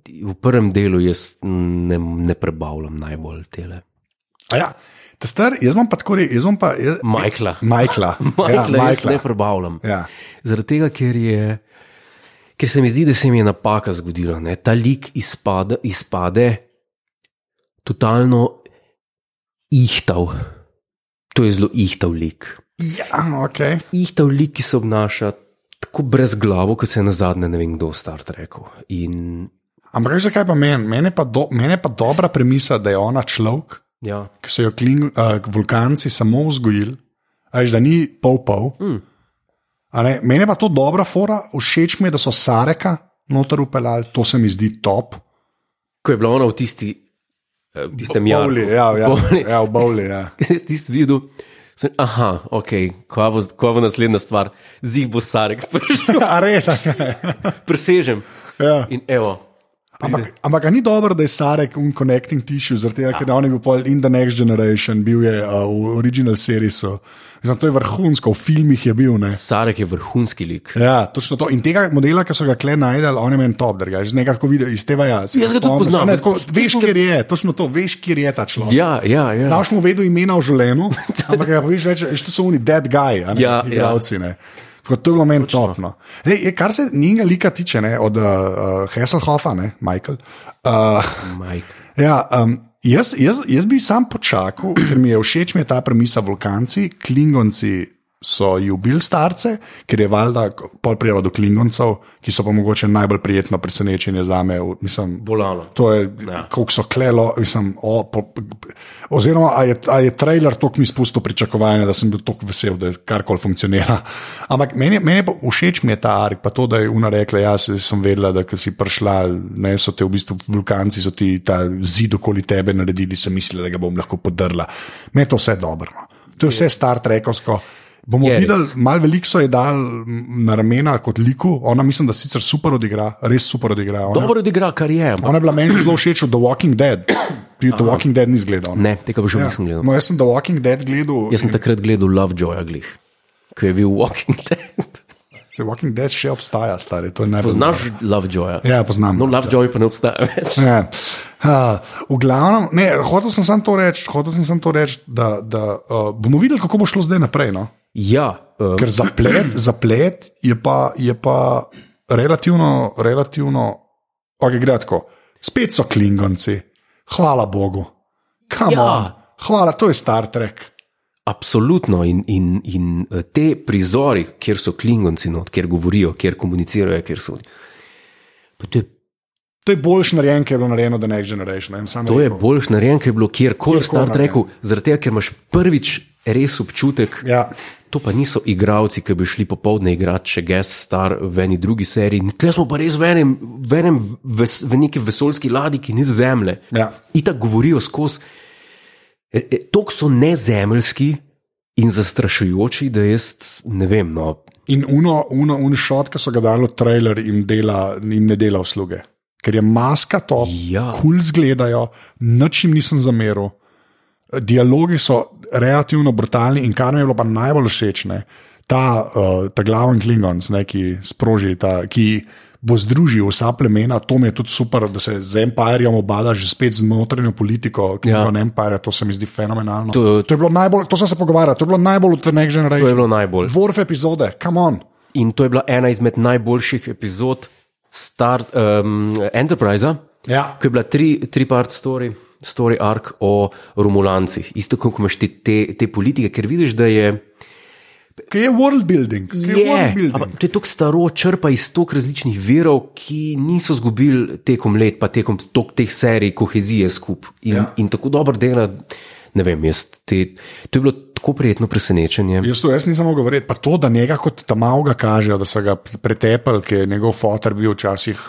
v prvem delu jaz ne, ne prebavljam najbolj tele.
A Ja, ta star, jaz imam pa tako reči, jaz imam pa. Jaz, eh,
Majkla.
Majkla.
<laughs> Majkla, ja,
ja,
jaz ne
Majkla.
prebavljam.
Ja.
Zaradi tega, ker je. Ker se mi zdi, da se mi je napaka zgodila, ne? ta lik izpade, izpade totalno ihtav. To je zelo ihtav lik.
Ja, ok.
Ihtav lik, ki se obnaša tako brezglavo, kot se je na zadnje, ne vem kdo, Star Trek. In
Ampak veš, zakaj pa meni? Mene pa, do, mene pa dobra premisa, da je ona človek,
ja,
ki so jo kling, uh, vulkanci samo vzgojili, ajš da ni pol-pol. Mm. Mene pa to dobra fora, všeč mi je, da so Sareka noter upeljali, to se mi zdi top.
ko je bila ona v tisti, eh, v tistem jarku.
Bowli, ja, ja,
Bowli.
ja, v Bowli, ja. <laughs>
Jaz <laughs> tisti videl. Sem, aha, ok, kva bo, kva bo naslednja stvar, zig bo sarek, <laughs> prišel.
A res, a kaj?
presežem.
ja.
In evo,
Ampak, ampak a ni dobro, da je Sarek un connecting tissue, zaradi tega,
Ja.
ker je on je bil pol in the next generation, bil je uh, v original seriesu. Mislim, to je vrhunsko, v filmih je bil. Ne?
sarek je vrhunski lik.
Ja, točno to. In tega modela, ki so ga kle najdel, on je meni top, da je že nekako videl iz tega ja, jaz.
Jaz ga tudi poznam.
Ne, tako, veš, kje je, točno to, veš, kje je ta človek.
Ja, ja, ja.
Daš mu vedno imena v
<laughs>
življenju, ampak ja, veš, reče, "Eš, to so oni dead guy, a ne,
Ja,
ja,
ja.
igravci. Ja. Tako, to je bilo meni topno. Kar se njega lika tiče, ne, od uh, uh, Hesselhoffa, ne, Michael. Uh, <laughs>
Mike.
Ja, um, jaz, jaz, jaz bi sam počakal, ker mi je všeč mi je ta premisa vulkanci, klingonci. So ju bili starce, ker je valjda pol prijava do klingoncev, ki so pa mogoče najbolj prijetno presenečenje za me. v- Mislim,
Bolano.
to je,
Ja.
ja. koliko so klelo, mislim, o, po, oziroma a je, a je trailer tako mi spustil pričakovanja, da sem bil tako vesel, da karkoli funkcionira. Ampak meni, meni je pa všeč mi je ta ark, pa to, da je Una rekla, jaz sem vedela, da ko si prišla, ne so te v bistvu vulkanci, so ti ta zid okoli tebe naredili, sem mislila, da ga bom lahko podrla. Me je to vse dobro. no. To je vse star trekovsko. Bomo
Je res.
videli, Malo veliko so je dal na ramena kot liku, ona mislim, da sicer super odigra, res super odigra. Ona,
Dobro odigra, kar je. ampak
Ona je bila meni že zelo všeč od The Walking Dead. Ti The Walking Dead nisi gledal.
Ne, tega pa še ja. nisem gledal.
No, jaz sem The Walking Dead gledal.
Jaz sem takrat gledal Lovejoya glih, ko je bil Walking <laughs> Dead.
The Walking Dead še obstaja, stari. To je najbolj.
Poznaš Lovejoya?
Ja, poznam.
No, Lovejoy pa ne obstaja več.
Ja. Ha, v glavnem, ne, hotel sem samo to reči, hotel sem samo to reči, da, da uh, bomo videli, kako bo šlo zdaj naprej. No?
Ja, um,
Ker zaplet, zaplet je pa, je pa relativno, relativno okay, gre tako. Spet so klingonci, hvala Bogu. Come
Ja.
on. Hvala, to je Star Trek.
Absolutno, in, in, in eh, te prizori, kjer so klingonci, not, kjer govorijo, kjer komunicirajo, kjer so. Pa To je,
To je boljš narejen, ker je bilo narejeno The Next Generation. ne, sam
to je
rekel.
boljš narejen, ker je bilo kjerkoli
Kjerkoli
Star Treku, zaradi tega, ker imaš prvič res občutek,
Ja.
to pa niso igravci, ki bi šli popovdne igrati še guest star v eni drugi seriji. Tle smo pa res v, enem, v, enem ves, v neki vesoljski ladi, ki ni z zemlje.
Ja.
Itak govorijo skozi. E, e, Tok so nezemeljski in zastrašujoči, da jaz ne vem. No,
In uno, uno, un šot, ki so ga dali v trailer, jim, dela, jim ne dela usluge. Ker je maska to,
Ja.
kul zgledajo, ničim nisem zameril. Dialogi so relativno brutalni in kar mi je bilo pa najbolj všeč, ne, ta, uh, ta glavni klingonc, ne, ki sproži, ta, ki bo združil vsa plemena, to mi je tudi super, da se z Empirejem obada že spet z notranjo politiko, ki je
Ja.
ja. Empire, to se mi zdi fenomenalno.
To-
To, to, je bilo najbolj, to sem se pogovarjal, to je bilo najbolj v The Next
To je
Generation.
bilo najbolj.
Dvorf epizode, come on.
In to je bila ena izmed najboljših epizod Star, um, Enterprise,
Ja.
ki je bila tri, tri part story, story arc o Romulancih. Isto kot imaš ti te, te politike, ker vidiš, da je.
Kaj je world building? Kaj je, je world building?
ampak to je tako staro, črpa iz toliko različnih virov, ki niso izgubili tekom let, pa tekom tok teh serij, kohezije skupaj. In, ja. in tako dobro dela, ne vem, jaz. Te, to je bilo tako prijetno presenečenje.
Jaz to jaz nisem mogel govoriti. Pa to, da njega kot tamavga kažejo, da so ga pretepali, ker je njegov fotor bil včasih.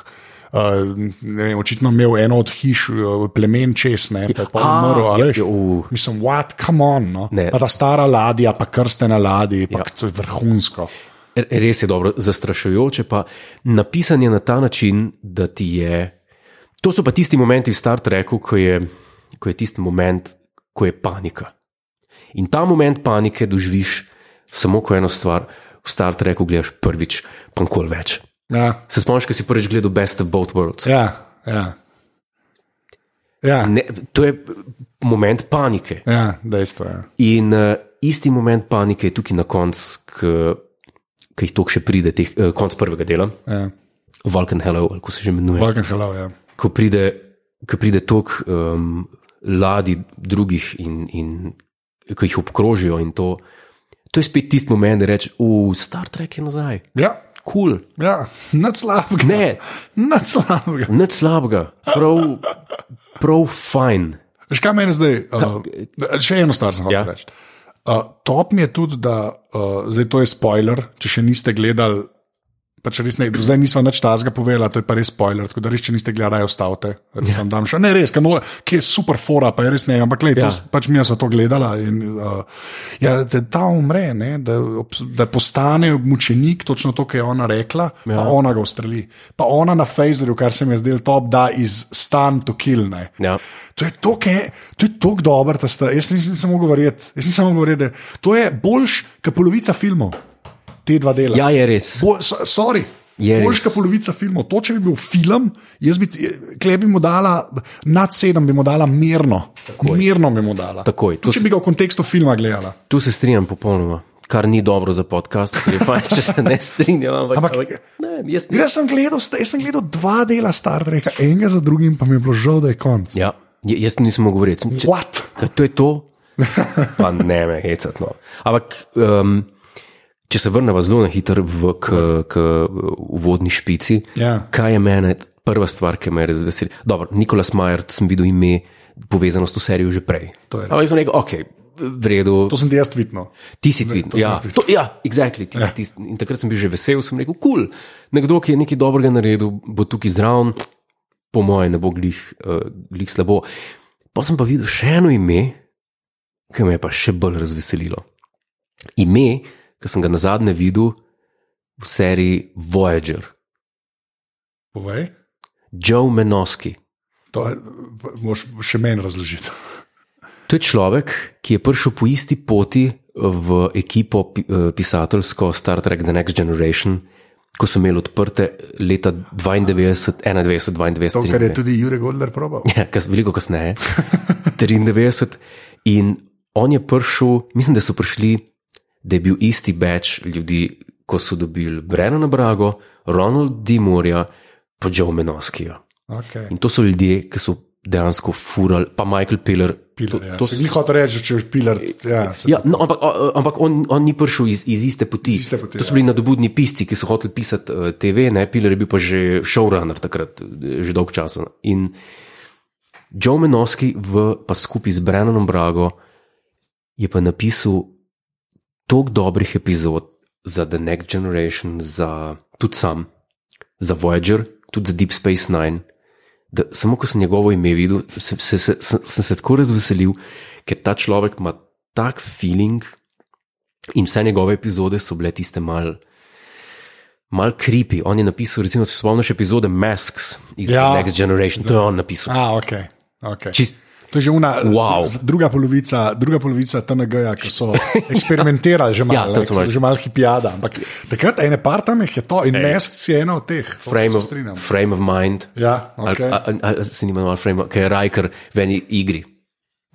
Uh, ne, vem, očitno imel eno od hiš, uh, plemen čez, ne, pa je pa
A,
umrl,
ja,
ali veš.
ja, uh.
Mislim, what, come on, no.
Ne.
Pa ta stara ladja, pa krstena ladja, pa
Ja.
to je vrhunsko.
R- Res je dobro, zastrašujoče pa napisan je na ta način, da ti je. To so pa tisti momenti v Star Treku, ko je, ko je tisti moment, ko je panika. In ta moment panike doživiš samo ko eno stvar, v Star Treku gledaš prvič, pa nikoli več.
Ja,
Se spomniš, ko si prvič gledal Best of Both Worlds?
ja. ja. ja.
Ne, to je moment panike.
Ja, dejstvo je. Ja.
In uh, isti moment panike je tukaj na koncu, ki jih toliko še pride, teh, uh, konc prvega dela,
Ja.
Vulcan Hello, ali kako se že imenuje.
Vulcan Hello, ja.
ko pride, ko pride tok um, ladij drugih in, in ki jih obkrožijo in to. To je spet tisti moment, da rečeš, v Star Trek je nazaj,
Ja,
kul, cool,
ja. nad slabega.
ne,
Nad slabega.
nič slabega, prav, prav fajn.
Veš, kaj meni zdaj? Uh, še eno stvar sem vam
Ja.
ja. rekel. Uh, top mi je tudi, da uh, zdaj to je spoiler, če še niste gledali. Pač res ne, do zdaj nismo več tazga povedali, to je pa res spoiler. Tako da res, če niste gledali, raje ostavite. Res ja. še, ne, res, kamo, ki je super fora, pa je res ne. Ampak lej, ja.
Ja.
to, pač mi smo to gledali. In, uh, ja, da ta umre, ne, da, obs- da postane mučenik, točno to, kar je ona rekla, ja. pa ona ga ustreli. Pa ona na Facebooku, kar se mi je zdelo top, da iz stan to kilne.
Ja.
To je to, ki je, to je tako dobro, da ste. Jaz nisem samo govoril, jaz nisem mogel verjeti. da- To je boljš, kot polovica filmov, te dva dela.
ja, je res.
Bo, so- sorry.
Je
Boljš,
res.
kot polovica filmov. To, če bi bil film, jaz bi, klej bi mu dala, nad sedem bi mu dala mirno. Takoj. Mirno bi mu dala.
Takoj, to
Tudi, če
s-
bi ga v kontekstu filma gledala.
Tu se strinjam popolnoma, kar ni dobro za podcast, ker je fajn, če se ne strinjam. Ampak,
Ampak-
ampak, ampak ne, jaz ne.
Jaz sem gledal, sta- jaz sem gledal dva dela Star Treka, enega za drugim, pa mi je bilo žal, da je konc.
Ja, j- jaz nisem mogel govoriti. Sem- če-
What?
Kaj to je to? Pa ne me hecati. No. Ampak, um, če se vrnemo zelo na hitro v k, k uvodni špici,
Ja.
kaj je meni prva stvar, ki me je res veseli? Dobro, Nikolas Majer, sem videl ime, povezano s to serijo že prej.
To je res.
Ampak jaz sem rekel, ok, v redu.
To sem ti jaz tvitno.
Ti si tvit.
to
Ja,
sem jaz
to, ja, exactly, ti, ja. Ti, in takrat sem bil že vesel, sem rekel, kul, cool, nekdo, ki je nekaj dobrega naredil, bo tukaj zraven, po mojem, ne bo glih, uh, glih slabo. Pa sem pa videl še eno ime, ki me je pa še bolj razveselilo. Ime, ki sem ga na zadnje videl v seriji Voyager,
Povej.
Joe Menoski.
To je- moraš še meni razložiti.
To je človek, ki je prišel po isti poti eh, v ekipo pi- eh, pisateljsko Star Trek The Next Generation, ko so imeli odprte leta 92, 91,
To,
92,
kar je tudi Jurek Godler probal.
Ja, kas, veliko
<laughs>
kasneje, 93. In on je prišel, mislim, da so prišli, da je bil isti več ljudi, ko so dobili Brennana Brago, Ronald D. Morja, pa Joe Menoskija.
Okay.
In to so ljudje, ki so dejansko furali, pa Michael Piller.
Pilar, ja.
to,
to
to
si jih hotel reči, če je pilar. Ja, se-
Ja, no, ampak, o- ampak on, on ni prišel iz, iz iste poti.
Iz iste poti,
to
ja.
so bili nadobudni pisci, ki so hoteli pisati uh, TV, ne, Pilar je bil pa že showrunner takrat, eh, že dolg časa. In Joe Menoski, v, pa skupaj z Brennanom Brago, je pa napisal toliko dobrih epizod za The Next Generation, za, tudi sam, za Voyager, tudi za Deep Space Nine. Da, samo ko sem njegovo ime videl, sem se, se, sem, sem se tako razveselil, ker ta človek ima tak feeling in vse njegove epizode so bile tiste mal. Mal creepy, on je napisal, recimo, če se spomniš epizode Masks iz
Ja.
ja. Next Generation, to je on napisal.
A, okay. Okay.
Čist-
To je že una,
Wow.
z- druga polovica, druga polovica TNG-ja, ki
<laughs>
so eksperimentirali že
Ja,
malo,
tam
ne,
so
ki so
malo-
že malo hipijada. Ampak takrat ene par tam jih je to in mes si ena od teh. To
frame
se
of,
strinjam.
frame of mind.
Ja, okay.
Ali- ali- ali Se ni imenoval frame, of- ki je Rajker v eni igri.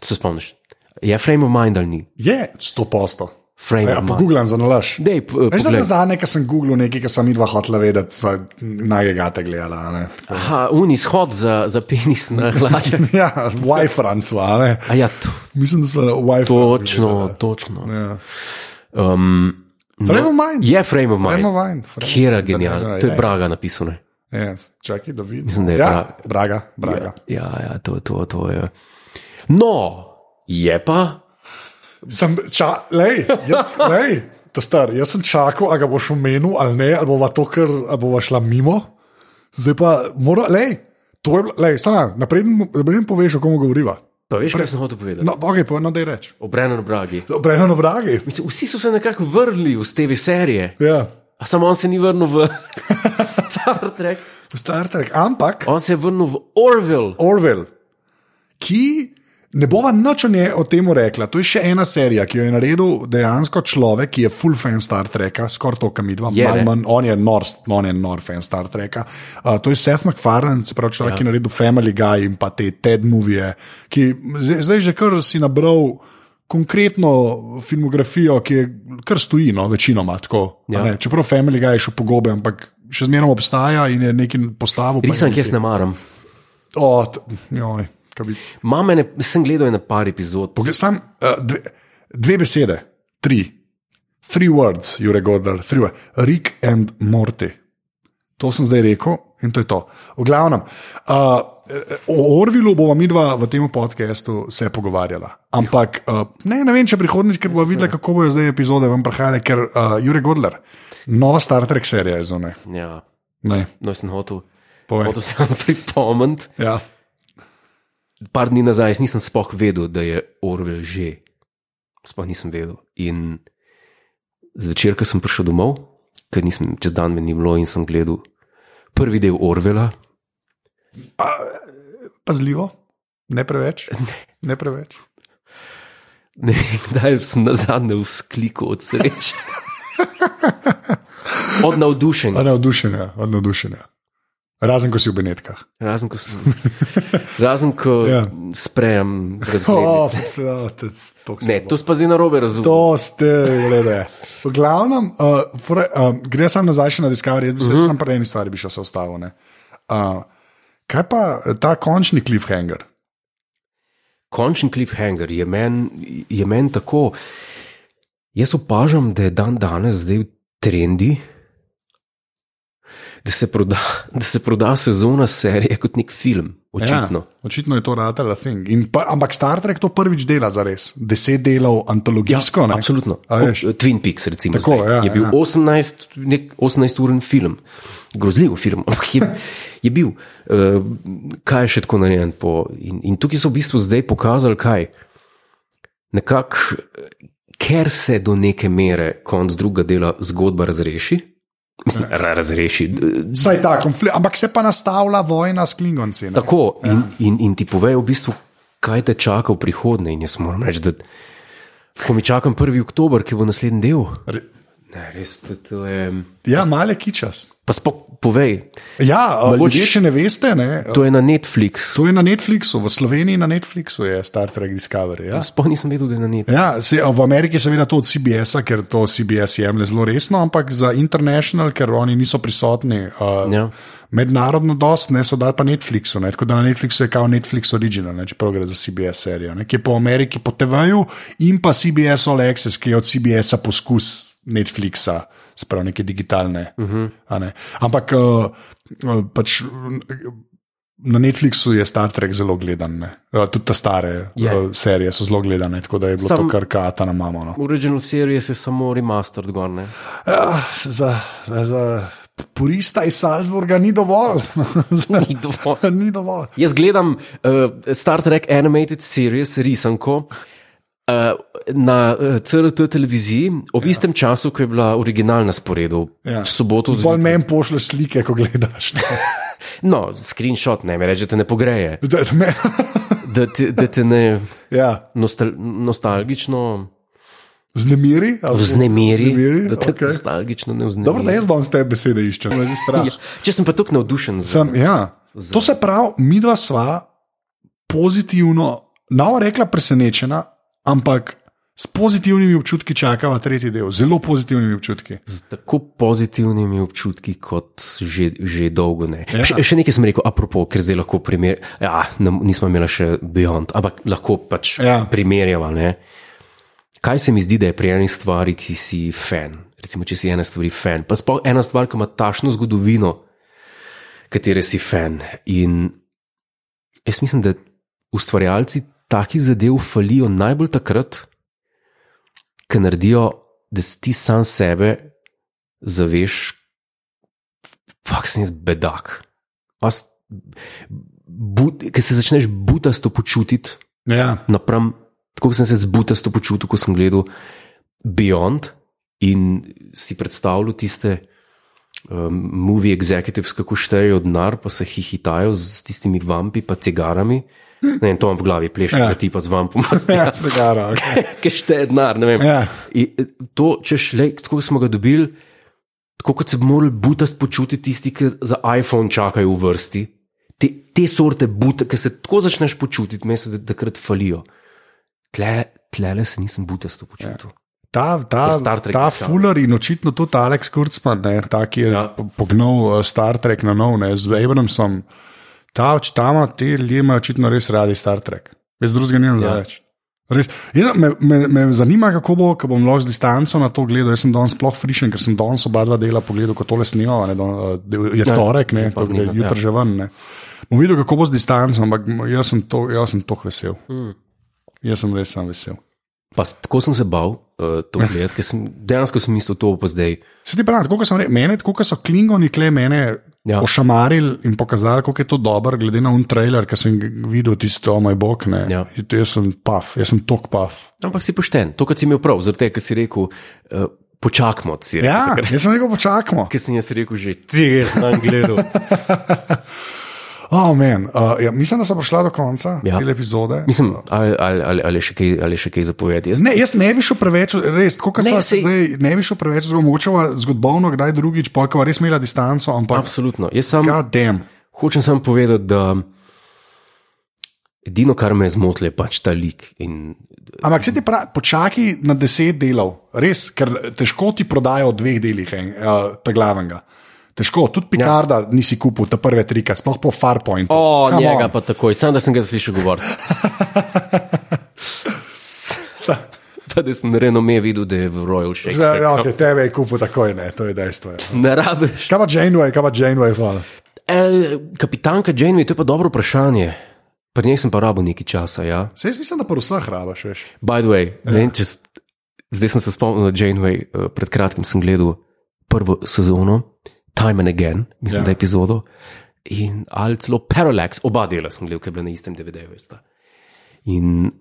Se spomniš? Je frame of mind ali ni?
Je 100 posto.
Frame
Ja,
of mind.
Pogooglam za nalaž.
Dej, p-
Veš, da
poglej.
je zadnje, kar sem googlil, nekaj, kar sem midva hotla vedeti, sva najegate gledala. a Ne.
Aha, un izhod za, za penis na hlače.
Ja, Wi-Fi, ne.
A ja, to,
Mislim, da so Wi-Fi.
točno, točno.
Ja.
Um,
Frame of mind.
je frame of
Frame of
mind.
mind, frame of
Kjera
mind.
genialno. To je
Ja.
Braga napisano.
Ja, čakaj, da vidim.
Mislim, da je
ja,
Bra-
Braga. Braga.
Ja, ja, ja, to, to, to je. No, je pa.
Sem, ča, lej,
<laughs>
jaz, lej, ta star, jaz sem čakal, a ga boš omenil ali ne, ali bova to kar, ali bova šla mimo. Zdaj pa mora, lej, to je, bilo- lej, stana, napreden, napreden poveš, o komu govoriva.
Pa veš, kaj sem hotel povedati?
No, ok, pa no, da je reč.
O Brennanu Bragi.
Breno Bragi.
Mislim, vsi so se nekako vrnili v TV serije.
Ja,
A samo on se ni vrnil v <laughs> Star Trek,
Star Trek, ampak
on se je vrnil v Orville.
Orwell, ki ne bova nič o nje- o tem rekla. To je še ena serija, ki jo je naredil dejansko človek, ki je full fan Star Treka, skoraj to, kam idva.
Je,
malo
ne?
manj, On je nor, on je nor fan Star Treka. Uh, to je Seth MacFarlane, se pravi človek, ja. ki je naredil Family Guy in pa te Ted Movie, ki zdaj, zdaj že kar si nabral. Konkretno filmografijo, ki je kar stoji, no, večinoma tako. a
Ja.
ne. Čeprav Family Guy je še pogobe, ampak še zmeraj obstaja in je nekaj postavil. pa je
Risank
nekaj-
jaz ne maram.
O, t- joj, kaj bi
Mame, ne, sem gledal je na par epizod.
Poglej, sam, uh, dve, Dve besede, tri. Three words, Jurek Godler, three words. Rick and Morty. To sem zdaj rekel in to je to. V glavnem, uh, o Orvilu bova midva v tem podkastu se pogovarjala. Ampak uh, ne, ne vem, če prihodnjič, ker bova videla, kako bojo zdaj epizode vam prihajale, ker uh, Jurek Godler, nova Star Trek serija je zunaj.
Ja,
Ne,
no, sem hotel.
Povej.
Hotel sem <laughs> pripomniti.
Ja.
Par dni nazaj jaz nisem spoh vedel, da je Orwell že. Sploh nisem vedel. In zvečer, ko sem prišel domov, ker nisem čez dan me ni bilo in sem gledal prvi del Orvela,
Pazljivo, ne preveč. <laughs> Ne preveč.
<laughs> ne vem, kdaj sem na zadnje vzkliku od
<laughs>
sreče. Od navdušenja,
A Navdušenja, od navdušenja. Razen ko si v Benetkah.
razen ko,
<laughs>
sem, razen, ko
Ja.
ja. sprejem
Oh,
razglednice.
to, to,
Ne, to spazi na robe razumem.
to ste glede. V glavnem, uh, fore, uh, gre sam nazaj še na Discovery, jaz bi se uh -huh. sam pri eni stvari bi še se ustavil. ne. Uh, kaj pa eh, ta končni cliffhanger?
končen cliffhanger je meni men tako. Jaz opažam, da je dan danes zdaj v trendi, da se proda, <laughs> da se proda sezona serije kot nek film, očitno.
Ja, očitno je to ratala thing. In Pa, ampak Star Trek to prvič dela za res. Deset delov antologijsko. ne?
Absolutno.
A
Ko-
veš?
Twin Peaks, recimo,
Tako,
zdaj,
ja,
je bil
ja.
18, nek 18-uren film, grozljiv film,
<laughs>
ampak je, je bil. Uh, kaj je še tako narejen? Po, in, in tukaj so v bistvu zdaj pokazali, kaj. Nekako, eh, ker se do neke mere konc drugega dela zgodba razreši, mislim,
Ja.
ra- razreši, d-
Vsaj ta konflikt, ampak se pa nastavlja vojna s Klingonci. ne?
Tako in, in, in ti povejo v bistvu, kaj te čaka v prihodnje. In jaz moram reči, da ko mi čakam 1. oktober, ki bo naslednji del.
Re-
Ne, res to, to je.
Ja, male kičast.
Pa spok, povej,
Ja, eh,
Mogoče-
ljudje še ne veste, ne? eh,
to je na Netflixu.
To je na Netflixu, v Sloveniji na Netflixu je Star Trek Discovery. Ja?
Sploh nisem vedel, da je na Netflixu.
Ja, se, v Ameriki je seveda to od CBS-a, ker to CBS jemlje zelo resno, ampak za international, ker oni niso prisotni. Uh,
Ja.
Mednarodno dost, ne so dali pa Netflixu, ne, tako da na Netflixu je kao Netflix original, ne, čeprav gre za CBS serijo, ne, ki je po Ameriki po TV-ju in pa CBS All Access, ki je od CBS-a poskus Netflixa, spravo neke digitalne. Uh -huh. ne. Ampak uh, uh, pač uh, na Netflixu je Star Trek zelo gledan, ne. Uh, tudi te stare
Je.
yeah. serije so zelo gledane, tako da je bilo Sam...
Sam-
to kar kata na mamo. No.
Original series je samo remastered, gor ne.
Ah, za, za purista iz Salzburga ni dovolj.
<laughs> Ni dovolj.
ni dovolj.
Jaz gledam uh, Star Trek Animated Series, risanko uh, na uh, CRT televiziji ob ja. istem času, ko je bila originalna sporedu.
Ja.
Ja. V soboto
Bolj
zjutraj.
meni pošlješ slike, ko gledaš. <laughs> ne.
No, screenshot ne, mi rečete, ne pogreje.
Da, da me,
Da te, da te ne
<laughs> ja,
nostal, nostalgično
znemiri. ali-
vznemiri.
Vznemiri,
Da te
okej.
okay. nostalgično ne vznemiri.
Dobro, da jaz danes te besede iščem, ne zistraš.
Ja, Če sem pa tako navdušen, za,
Sem, ja. To se pravi, mi dva sva pozitivno, nao rekla presenečena, ampak s pozitivnimi občutki čakava tretji del, zelo pozitivnimi občutki.
z tako pozitivnimi občutki, kot že, že dolgo ne.
Ja.
Ja. Še, še nekaj sem rekel, apropo, ker zdaj lahko primer. Ja, ne, nismo imeli še Beyond, ampak lahko pač
Ja.
ja. primerjava. Ne? Kaj se mi zdi, da je pri eni stvari, ki si fan, recimo, če si ena stvar fan, pa sploh ena stvar, ki ima tašno zgodovino, katere si fan. In jaz mislim, da ustvarjalci takih zadev falijo najbolj takrat, ko naredijo, da si ti sam sebe zaveš, fak sem jaz bedak. Vas, but, ker se začneš butasto počutiti,
Ja. <laughs>
napram, tako kot sem se zbutasto počutil, ko sem gledal Beyond in si predstavljal tiste um, movie executives, kako štejejo denar, pa se hihitajo z tistimi vampi, pa cigarami. Ne, vem, to imam v glavi, plešče,
Ja.
ja. ti pa z vampom. <laughs>
Ja, cigara, okay.
Ki šteje denar, ne vem.
ja.
In eh, to, če šle, tako kot smo ga dobili, tako kot se bi morali butast počutiti tisti, ki za iPhone čakajo v vrsti. Te, te sorte buta, ki se tako začneš počutiti, me se da- takrat falijo. Tle, tlele se nisem butasto počutil.
Ta,
Ker
ta,
Star Trek
ta
Discovery.
Fuller in očitno tudi Alex Kurtzman, ne, ta, ki je ja. pognal eh, Star Trek na nov, ne, z Abramsom, ta očitama, te ljudje imajo očitno res radi Star Trek. Jaz drugega nimam ja.
Ja.
več. Res, jaz, me, me, me zanima, kako bo, ko bom lahko z distanco na to gledal. Jaz sem danes sploh frišen, ker sem danes oba dva dela pogledal, ko tole snemava. ne, don- eh, Je
Ja,
torek, ne,
že pa
to gre
dneva,
jutri
ja.
že ven. Ne. Bom videl, kako bo z distanco, ampak jaz sem to, jaz sem toliko vesel.
Mm.
Jaz sem res sam vesel.
Pa s- tako sem se bal uh, to gledati, ker sem dejansko sem mislil, to bo pa zdaj.
Se ti pravi, tako kot sem rekel, mene, tako kot so klingoni kle mene
Ja.
ja. ošamarili in pokazali, kako je to dobro, glede na un trailer, ki sem ga videl tisto, oh moj bog, ne.
Ja.
In to Jaz sem paf, jaz sem tok paf.
Ampak si pošten, to, kar si imel prav, zaradi tega, ker si rekel, uh, počakajmo.
Ja, jaz sem rekel, počakajmo.
Ker sem jaz rekel, že <laughs> ti si tam gledal.
Oh, man, uh, ja, mislim, da sem prišla do konca ja.
Ja.
te epizode.
Mislim, ali, ali, ali, ali, še kaj, ali še kaj zapovedi. Jaz,
Ne, jaz ne bi šel preveč, res, tako kot
Ne,
sem
sej-
rekel, ne bi šel preveč, zelo mogoče bova zgodovino, kdaj drugič, polka res imela distanco, ampak
absolutno. Jaz sam,
god damn.
hočem samo povedati, da edino, kar me je zmotilo, je pač ta lik. In,
Ampak se ti pravi, počakaj na deset delov, res, ker težko ti prodajo v dveh delih en, uh, ta glavnega. Težko, tudi Picarda ja. nisi kupil, te prve trikrat, sploh po Farpointu.
o,
Come
njega
on.
pa takoj, sam da sem ga slišal govoriti.
Sa-
<laughs> Pa da sem renome videl, da je v Royal
Ja,
Shakespeare.
ja, okay, tebe je kupil takoj, ne, to je dejstvo. Ja.
Ne rabiš.
Kaj pa Janeway, kaj pa Janeway, hvala.
E, kapitanka Janeway, to je pa dobro vprašanje. Pri njej sem pa rabo nekaj časa, ja.
Se jaz mislim, da pa vseh rabaš, veš.
By the way, ja. ne, vem, če, s- zdaj sem se spomnil na Janeway, eh, pred kratkim sem gledal prvo sezono, Time and Again, mislim, ja.
Ja.
da epizodo, in ali celo Parallax, oba dela sem gledal, ki je bila na istem DVD-ju. veste. In,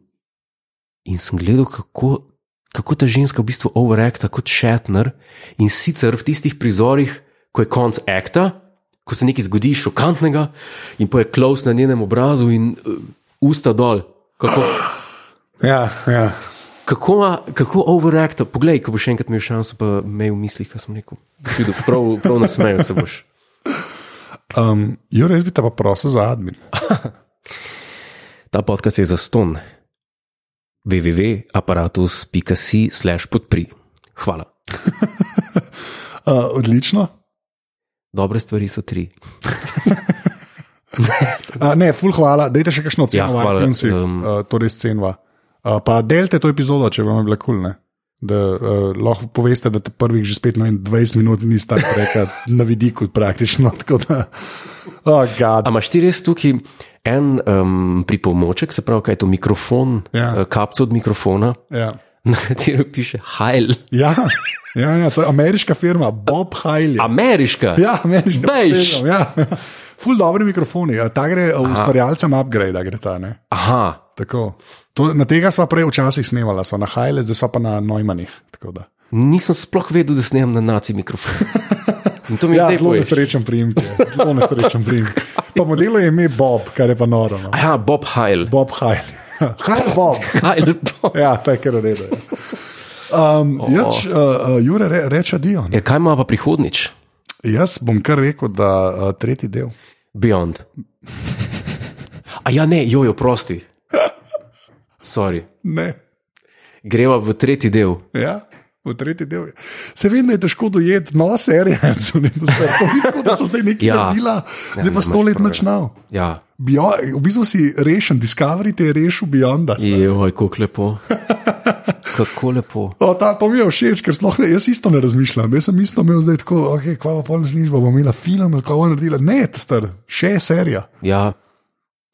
in sem gledal, kako, kako ta ženska v bistvu overacta kot Shatner in sicer v tistih prizorih, ko je konc akta, ko se nekaj zgodi šokantnega in poje close na njenem obrazu in uh, usta dol. Kako,
Ja, ja.
Kako, ima- kako overacta, poglej, ko boš enkrat imel šanso, pa me v mislih, kaj sem rekel. Boš Videl, prav, prav na smeju se boš.
Um, Jure, jaz bi te pa prosil za admin.
Ta podcast je za ston. www.apparatus.si/slash podpri. Hvala.
Uh, odlično.
Dobre stvari so tri.
Uh, ne, ful, hvala. Dajte še kakšno ceno, ja,
Ja, hvala,
hvala, iTunes,
um,
um, uh, to res cenva. Uh, pa delite to epizodo, če vam je bilo kul. Cool, Da uh, lahko poveste, da te prvih že spet ne vem, 20 minut ni star, reka, na vidiku praktično. <laughs> tako Da, oh, God.
A imaš ti res tukaj en um, pripomoček, se pravi, kaj je to mikrofon,
Ja.
eh, kapco od mikrofona, <laughs>
Ja.
na katero piše Hajl.
Ja, ja, ja, to je ameriška firma, Bob Hajli.
Ameriška.
Ja, ameriška
Bejž.
firma. Ja. <laughs> Ful, dobri mikrofoni. Ja, Ta gre uh, ustvarjalcem upgrade, gre ta. Ne?
Aha.
Tako. To, na tega sva prej včasih snemala, sva na Hajle, zdaj sva pa na Neumannih. tako da.
Nisem sploh vedel, da snemam na naci
<laughs>
mikrofon. In to mi je
Ja,
zdaj
zelo
poveš.
nesrečen primek. je, Zelo nesrečen primek. Pa modelo je ime Bob, kar je pa noro. No.
Aha, Bob Hajl.
Bob Hajl. <laughs> Hajl Bob.
Hajl Bob.
Ja, to je kar v redu. ja. Um, jač, uh, uh, Jure, re, reče Dio.
Ja, kaj ima pa prihodnič?
Jaz bom kar rekel, da uh, tretji del.
Beyond. A ja, ne, jojo, prosti. Sorry.
Ne.
Greva v tretji del.
Ja. V tretji del. je. Se vem, da je težko dojeti, no, serija, <laughs> da so, ne, da so, tako, da so zdaj nekaj
Ja.
ja. naredila, zdaj
ne,
pa sto
imaš
let
prav, ja.
načnal.
Ja,
Beyond, v bistvu si rešen, Discovery te je rešil Beyonda. stari.
joj, kako lepo. Kako lepo.
O, ta, to mi je všeč, ker sploh ne, jaz isto ne razmišljam. Jaz sem isto imel zdaj tako, okay, kva pa polno znižba, bom imela film ali kaj bo naredila. Ne, ta star, še serija.
Ja,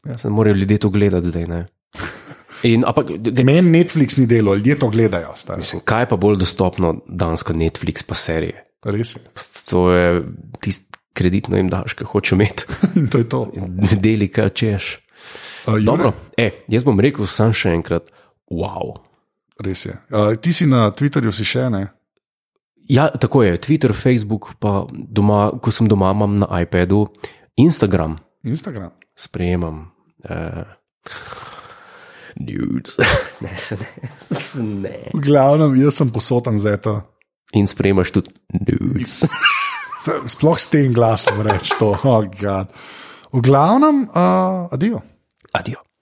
ja. se morajo ljudje to gledati zdaj. Ne? In, ampak, g-
Meni Netflix ni delo, ljudje to gledajo, star.
mislim, kaj je pa bolj dostopno danes kot Netflix, pa serije?
Res je.
To je tisti kreditno jim daš, ki hoče imeti,
<laughs> In to je to.
deli, kaj češ.
Uh,
Dobro, e, jaz bom rekel sam še enkrat, wow.
Res je. Uh, ti si na Twitterju si še ne.
Ja, tako je, Twitter, Facebook, pa doma, ko sem doma, imam na iPadu, Instagram
Instagram.
sprejemam. Uh, Nudes. <laughs> ne, se ne, se ne.
V glavnem, jaz sem posoten za to.
In sprejemaš tudi nudes. <laughs>
Sta- Sploh s tem glasom reč to. Oh, God. v glavnem, uh, adijo.
Adijo.